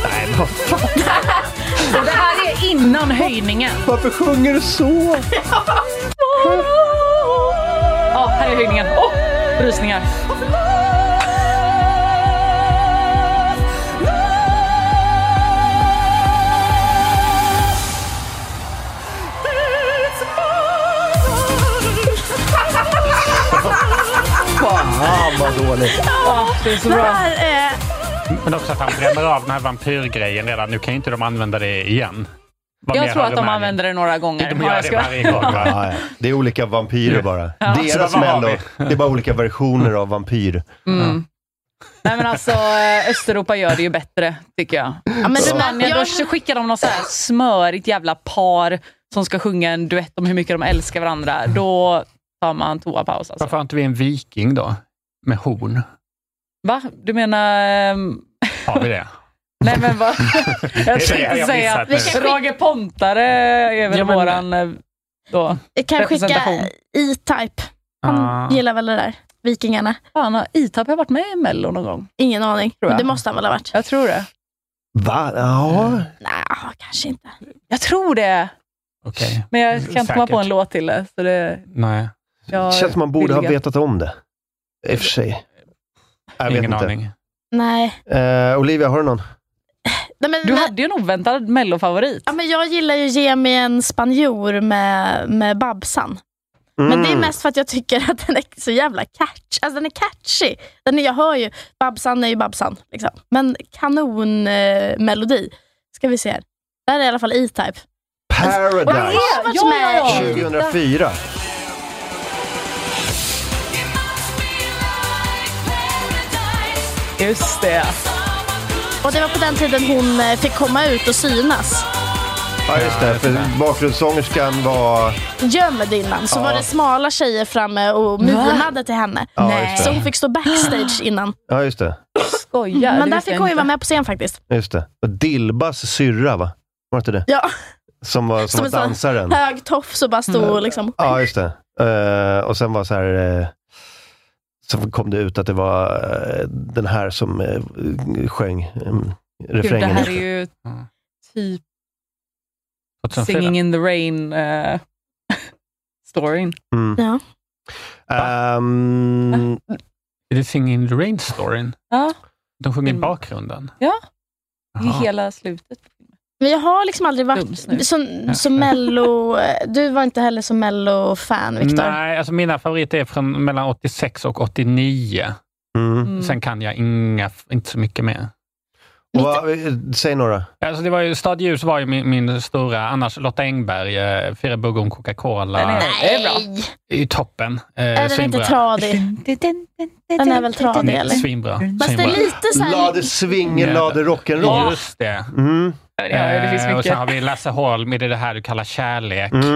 S1: Nej, vad fan.
S4: Och det här är innan höjningen.
S1: Varför sjunger du så?
S4: Ja, här är höjningen. Åh, rysningar.
S1: Fan vad dåligt.
S4: Ja, det eh, är så bra.
S3: Men också att han bränner av den här vampyrgrejen redan. Nu kan ju inte de använda det igen. Vad mer
S4: Jag tror
S3: har
S4: att de
S3: här?
S4: använder det några gånger.
S3: De gör det varje
S4: <laughs>
S3: gång. va?
S1: Ja, ja. Det är olika vampyrer bara.
S4: Ja. Så
S1: Deras
S4: vad har
S1: mello, det är bara olika versioner av vampyr.
S4: Mm. Nej men alltså, eh, Östeuropa gör det ju bättre, tycker jag.
S2: Ja, men
S4: Spanien,
S2: jag-
S4: då skickar de något så här smörigt jävla par som ska sjunga en duett om hur mycket de älskar varandra. Då tar man toapaus alltså.
S3: Varför har inte vi en viking då? Med horn?
S4: Va? Du menar... ehm,
S3: Har vi det?
S4: <laughs> Nej men
S3: <laughs>
S4: vad? jag
S3: det jag
S4: tänkte
S3: har
S4: säga
S3: missat nu. Vi
S4: att
S3: kan
S4: Roger Pontare är väl
S3: Ja, men-
S4: våran eh, då,
S2: Jag kan skicka
S4: representation.
S2: E-Type. Han
S4: Ah.
S2: gillar väl det där. Vikingarna.
S4: Fan, har E-Type varit med i Mello någon gång?
S2: Ingen aning.
S4: Tror jag.
S2: Det måste han väl ha varit?
S4: Jag tror det.
S1: Va? Ja.
S2: Nej, kanske inte.
S4: Jag tror det,
S3: Okej.
S4: men jag kan inte komma
S3: Säkert.
S4: på en låt till det. Så det
S3: Nej.
S4: jag
S1: Känns som man borde ha
S4: villiga.
S1: vetat om det. I och för sig. Jag vet
S3: Ingen
S1: inte.
S3: aning.
S2: Nej.
S1: Eh, Olivia, har du någon?
S2: Nej, men,
S4: Du hade ju en oväntad mellofavorit.
S2: ja, men jag gillar ju Ge mig en spanjor med, med Babsan. Men det är
S1: Mm.
S2: mest för att jag tycker att den är så jävla catch. Alltså den är catchy. Den är, jag hör ju, Babsan är ju Babsan. Liksom. Men kanon eh, melodi. Ska vi se här. Där är i alla fall E-Type. Och han
S1: Paradise
S2: har varit
S4: Ja,
S2: med
S4: ja,
S2: i-
S1: 2004.
S4: Just det.
S2: Och det var på den tiden hon eh, fick komma ut och synas.
S1: Ja, just det. För bakgrundssångerskan var...
S2: Gömd innan, så
S1: Ja.
S2: var det smala tjejer framme och mimade till henne.
S1: Ja, just det.
S2: Så hon fick stå backstage innan.
S1: Ja, just det.
S4: Skojar?
S2: Mm, Men där fick hon ju vara med på scen faktiskt.
S1: Just det. Och Dilbas syrra, va? Var det inte det?
S2: Ja.
S1: Som var, som var
S2: en sån
S1: dansaren.
S2: hög tofs och bara stod
S3: Mm.
S2: och liksom.
S1: Ja, just det. Eh, och sen var så här... eh, så kom det ut att det var eh, den här som eh, sjöng um,
S4: Gud, det
S1: refrängen.
S4: här är ju typ Singing in the rain eh, <laughs> storyn.
S1: Mm.
S2: Ja.
S1: Ehm,
S3: Är det Singing in the Rain-storyn?
S4: Ja,
S3: De sjunger i bakgrunden?
S4: ja. Mm. det är
S3: Jaha.
S4: hela slutet.
S2: Men jag har liksom aldrig
S4: Dumsnus.
S2: varit som, som mello... Du var inte heller som mello-fan, Viktor.
S3: Nej, alltså mina favoriter är från mellan 86 och 89.
S2: Mm.
S3: Sen kan jag inga, inte så mycket mer.
S1: Och vad- eh, säg några.
S3: Alltså det var ju, Stad Ljus var ju min, min stora, annars Lotta Engberg, eh, Fyra bugg och en Coca-Cola.
S2: Den är-
S4: Det är bra.
S3: Det är ju toppen. Eh,
S2: Är den inte
S3: svinbra. <laughs>
S2: tradig? Den
S4: typ
S2: är väl tradig,
S3: Nej,
S2: eller?
S3: Svinbra.
S2: Fast det är
S3: Svinbra.
S2: lite så här...
S1: Lade swingel, lade
S3: Ja,
S1: rock'n'roll. Mm,
S3: Just det.
S4: Ja, det finns
S3: Eh, och
S4: mycket.
S3: sen har vi Lasse Holm i det här du kallar kärlek.
S1: mm.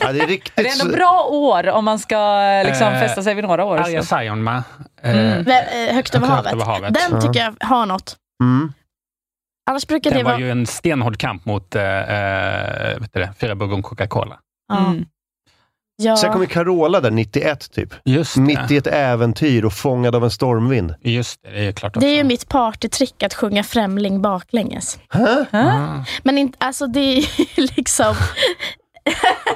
S1: Ja, det är riktigt...
S4: Det är ändå bra år om man ska eh, liksom,
S3: Eh,
S4: fästa sig vid några år.
S3: Arga
S4: så.
S3: Saijonmaa.
S4: Mm.
S2: Vä- eh, Högt över
S3: Högt
S2: havet.
S3: över havet.
S2: Den tycker jag har något.
S1: Mm.
S2: Annars brukar det
S3: Det var
S2: vara...
S3: ju en stenhård kamp mot äh, vet du det, Fyra bugg och en Coca-Cola.
S2: Ja. Ja.
S1: Sen kom ju Carola där, 91 typ.
S3: Just
S1: Mitt i ett äventyr och fångad av en stormvind.
S3: Just det, det är ju klart.
S2: Det är ju mitt partytrick att sjunga Främling baklänges.
S1: Hä?
S4: Ah.
S2: Men inte, alltså det är ju <laughs> liksom...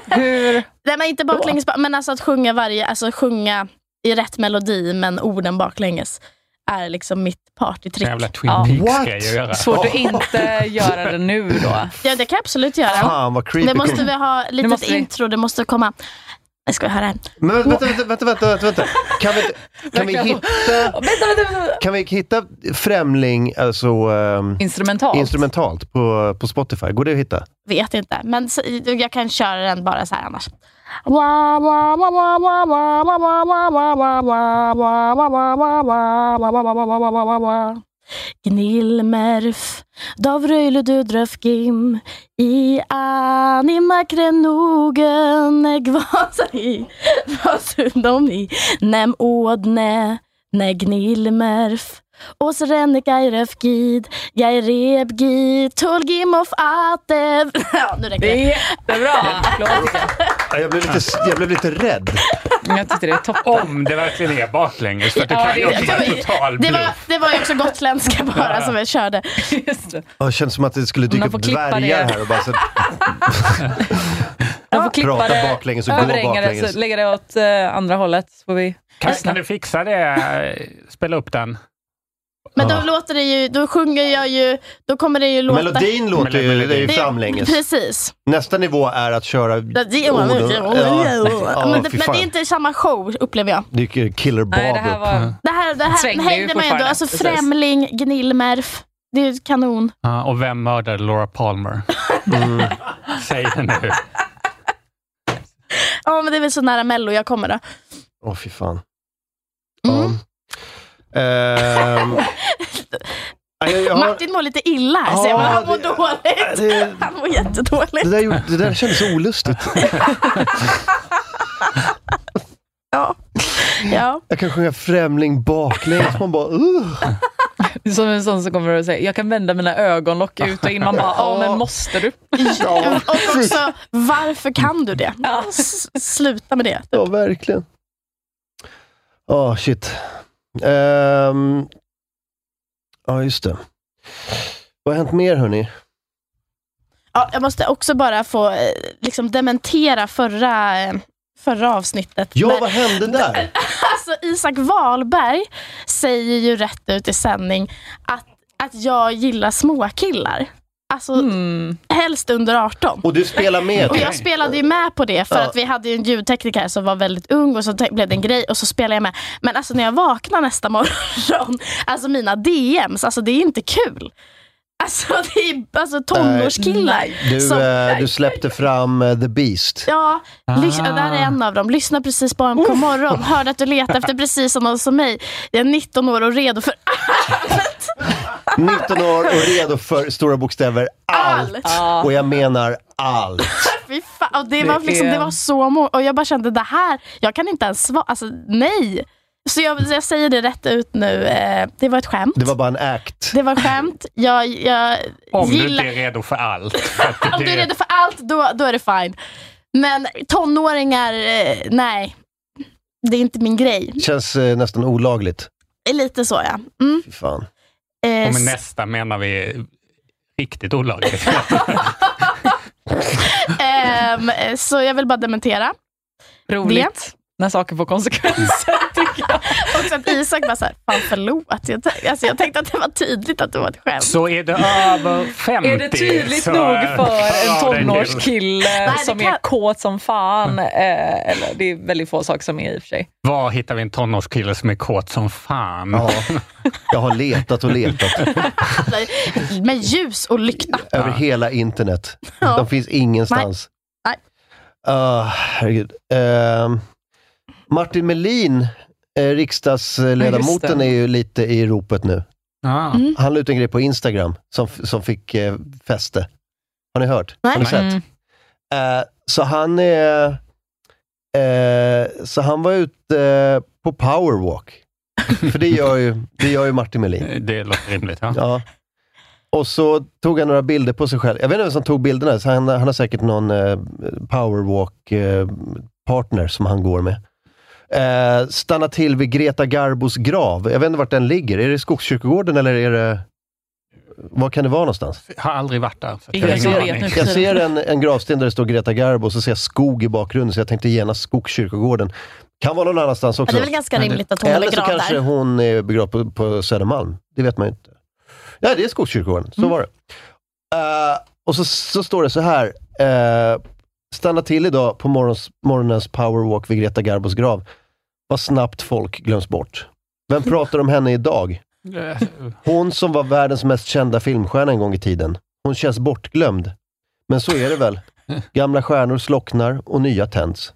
S4: Hur?
S2: Nej, men inte baklänges, ba- men alltså att sjunga varje, alltså sjunga i rätt melodi, men orden baklänges är liksom mitt partytrick.
S3: Jävla Twin
S4: Ja.
S3: Peaks-grej att göra.
S4: Svårt att inte
S3: <laughs>
S4: göra det nu då.
S2: Ja, det kan jag absolut göra.
S1: Fan vad creepy.
S2: Det måste vi ha litet
S4: måste vi-
S2: intro, det måste komma. Jag ska vi höra en.
S1: Men vänta, vänta, vänta, vänta, vänta, vänta. Kan vi, kan vi hitta,
S4: Vänta, vänta, vänta.
S1: kan vi hitta Främling alltså, ehm,
S4: Instrumentalt.
S1: instrumentalt på, på Spotify? Går det att hitta?
S2: Vet inte, men så- jag kan köra den bara så här annars. Wa, wa, wa, wa, wa, wa, wa, wa, wa, wa, wa, wa, wa, wa, wa, wa, wa, wa, wa, wa, wa, wa, wa, wa, wa. Gnilmerf, Davrøylududrøf gim, i anima krenogen, egvasari, vasunomi, nem ådne, ne gnilmerf. Ås renne geiref gid, geireb gid, tolgim of atev. <laughs> Ja, nu räcker det.
S4: Jättebra. Applåd, tycker jag.
S1: Ja, Jag blev lite, jag blev lite rädd.
S4: Jag tyckte det är toppen.
S3: Om det verkligen är baklänges. För att det
S4: Ja,
S3: kan
S4: det-
S3: ju också vara total
S2: Det var,
S3: bluff.
S2: det var ju också
S3: <laughs>
S2: gotländska bara som jag körde.
S4: Just det.
S1: Ja, Det känns som att det skulle dyka
S4: Man får
S1: upp
S4: klippa
S1: dvärgar
S4: det.
S1: här och bara så,
S4: De får klippa
S1: Prata
S4: det,
S1: baklänges och gå
S4: överringa det,
S1: baklänges.
S2: Alltså,
S4: så lägga det åt eh, andra hållet. Så får vi...
S3: Kan, kan du fixa det? Spela upp den.
S2: Men då
S3: Ja.
S2: låter det ju, då sjunger jag ju, då kommer det ju låta...
S1: melodin låter ju, det är ju
S2: Det-
S1: framlänges.
S2: Precis.
S1: Nästa nivå är att köra
S2: Det, det, ja,
S1: orden.
S2: men,
S1: Ja,
S2: men
S1: fy
S2: det men det är
S1: fan.
S2: inte samma show, upplever jag.
S1: Det är Killer
S4: Nej, det här
S1: Bob upp.
S3: Mm.
S4: var...
S2: Det här, det här
S4: Svängde ju
S2: hängde mig ändå.
S4: fortfarande,
S2: Alltså
S4: precis.
S2: Främling, Gnillmerf. Det är ju kanon.
S3: Ja, och vem mördade Laura Palmer? Mm. Säg det nu.
S2: Ja, men det är väl så nära Mello jag kommer då.
S1: Åh, fy fan. Ja.
S2: Mm.
S1: Ehm, ja, jag- jag har-
S2: Martin mår lite illa här,
S1: Ja,
S2: ser man. Han mår
S1: det-
S2: dåligt.
S1: det-
S2: Han mår jättedåligt.
S1: Det där, gjorde, det där kändes olustigt.
S2: Ja. ja.
S1: Jag kan sjunga Främling baklänges. Man bara, uh.
S4: Det är Som en sån som kommer och säger, jag kan vända mina ögonlock ut och in. Man bara, ja men måste du?
S2: Och också, varför kan du det? S- Sluta med det.
S1: Ja, verkligen. Ja, shit. Ehm, ja, just det. Vad har hänt mer, hörni?
S2: Ja, jag måste också bara få eh, liksom dementera förra, eh, förra avsnittet.
S1: Ja,
S2: Men-
S1: vad hände där?
S2: Alltså Isak Wahlberg säger ju rätt ut i sändning att, att jag gillar småkillar. Alltså
S1: Mm.
S2: helst under 18.
S1: Och du spelar med?
S3: <laughs>
S2: Och jag spelade ju med på det för
S1: Ja.
S2: att vi hade ju en ljudtekniker här som var väldigt ung och så te- blev det en grej och så spelade jag med. Men alltså när jag vaknar nästa morgon, <laughs> alltså mina DMs, alltså det är inte kul. Alltså det är alltså tonårskillar.
S1: Du,
S2: som-
S1: eh, du släppte fram eh, The Beast.
S2: Ja, lyssna, där är en av dem. Lyssna precis på honom på morgon. Hörde att du letar efter precis någon som mig. Jag är 19 år och redo för
S1: 19 år och redo för stora bokstäver allt.
S2: allt.
S1: Och jag menar allt.
S2: Ah, Fy fan. Och det, var liksom, det var så många. Och jag bara kände det här, jag kan inte ens svara. Alltså nej. Så jag, jag säger det rätt ut nu. Eh, det var ett skämt.
S1: Det var bara en act.
S2: Det var skämt. Jag, jag
S3: Om du
S2: gillar...
S3: inte är redo för allt. För att
S2: Om du är redo för allt, då, då är det fine. Men tonåringar, eh, nej. Det är inte min grej.
S1: Känns eh, nästan olagligt.
S2: Det är Lite så ja. Mm.
S1: Fy fan.
S2: Eh,
S3: Och med
S2: s-
S3: nästa menar vi riktigt olagligt. <laughs>
S2: ehm, eh, så jag vill bara dementera.
S4: Roligt när saker får
S3: <laughs>
S4: konsekvenser.
S2: Också att Isak bara såhär, fan förlåt. Jag, t- alltså, jag tänkte att det var tydligt att det var ett skämt.
S3: Så är det över 50
S4: Är det tydligt
S3: så,
S4: nog
S3: eh,
S4: för en
S3: hör det till.
S4: tonårskille
S2: det
S4: som
S2: kan-
S4: är kåt som fan? Eh, eller, det är väldigt få saker som är i och för sig.
S3: Var hittar vi en tonårskille som är kåt som fan?
S1: Jag har letat och letat.
S2: Med ljus och lykta.
S1: Över hela internet.
S2: <laughs> Ja.
S1: De finns ingenstans.
S2: Nej.
S1: Ah, herregud. Ehm, Martin Melin, eh,
S3: Ja, just
S1: riksdagsledamoten,
S3: det.
S1: är ju lite i ropet nu.
S3: Ah.
S2: Mm.
S1: Han la ut en grej på Instagram som, f- som fick eh, fäste. Har ni hört? Har ni
S3: Nej.
S1: sett?
S3: Mm.
S1: Eh, så han är... Eh, så han var ute eh, på
S2: <laughs>
S1: powerwalk. För det gör ju, det gör ju Martin Melin.
S3: Det låter rimligt. Ja.
S1: Ja. Och så tog han några bilder på sig själv. Jag vet inte vem som tog bilderna, så han, han har säkert någon eh, powerwalk-partner som han går med. Eh, stanna till vid Greta Garbos grav. Jag vet inte vart den ligger. Är det Skogskyrkogården eller är det... Var kan det vara någonstans?
S3: Jag har aldrig varit där. Så att
S4: Ingen
S3: jag har
S4: som
S3: ingen
S4: vet
S3: aning.
S4: nu för
S1: Jag ser en, en gravsten där det står Greta Garbo och så ser jag skog i bakgrunden, så jag tänkte genast Skogskyrkogården. Kan vara någon annanstans också.
S2: Ja, det är väl ganska
S1: Men det-
S2: rimligt att hon
S1: Eller
S2: är
S1: så
S2: begravd
S1: kanske
S2: där.
S1: hon är begravd på, på Södermalm. Det vet man ju inte. Nej, det är Skogskyrkogården. Så
S2: Mm.
S1: var det. Eh, och så, så står det så här. eh, stanna till idag på morgons, morgonens powerwalk vid Greta Garbos grav. Vad snabbt folk glöms bort. Vem pratar om henne idag?
S3: Eh,
S1: Hon som var världens mest kända filmstjärna en gång i tiden. Hon känns bortglömd. Men så är det väl. Gamla stjärnor slocknar och nya tänds.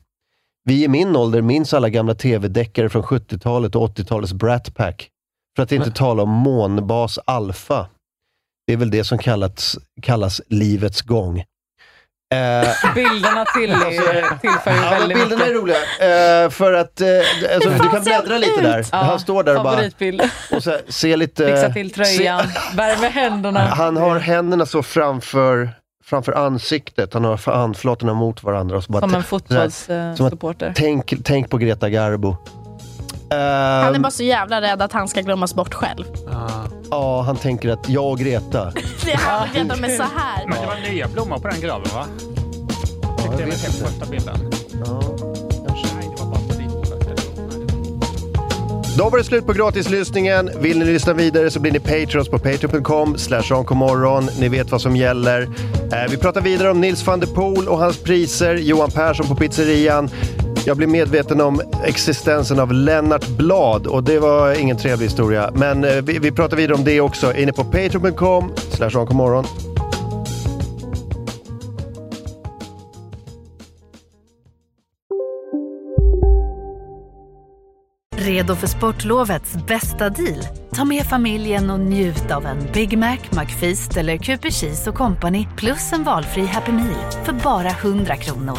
S1: Vi i min ålder minns alla gamla tv-deckare från 70-talet och 80-talets Brat Pack. För att inte tala om månbas alfa. Det är väl det som kallats, kallas livets gång. Eh,
S4: Bilderna till, tillför ju
S1: Alltså, Ja, men
S4: väldigt mycket.
S1: bilderna är roliga, eh, för att eh, alltså, du kan bläddra lite där.
S4: Ja,
S1: Han står där och bara Eh,
S4: Favoritbild.
S1: och så här, ser lite...
S4: Fixa till tröjan, värme händerna.
S1: Han har händerna så framför, framför ansiktet. Han har handflatorna mot varandra. Och så bara
S4: Som en
S1: t- så här, som att
S4: fotbollssupporter.
S1: Tänk, tänk på Greta Garbo.
S2: Han är
S1: Ehm,
S2: bara så jävla rädd att han ska glömmas bort själv.
S1: Ja, han tänker att jag och Greta.
S2: Det är han och Greta med så här.
S3: Men det var nya blommor på den graven va? Tyckte jag vet på första bilden.
S1: Då var det slut på gratislyssningen. Vill ni lyssna vidare så blir ni patrons på patreon.com slash onkomorron. Ni vet vad som gäller. Eh, vi pratar vidare om Nils van der Poel och hans priser, Johan Persson på pizzerian. Jag blev medveten om existensen av Lennart Blad och det var ingen trevlig historia. Men eh, vi, vi pratar vidare om det också inne på patreon.com slash onkomorron.
S13: Redo för sportlovets bästa deal? Ta med familjen och njut av en Big Mac, McFeast eller Cooper Cheese och Company plus en valfri Happy Meal för bara 100 kronor.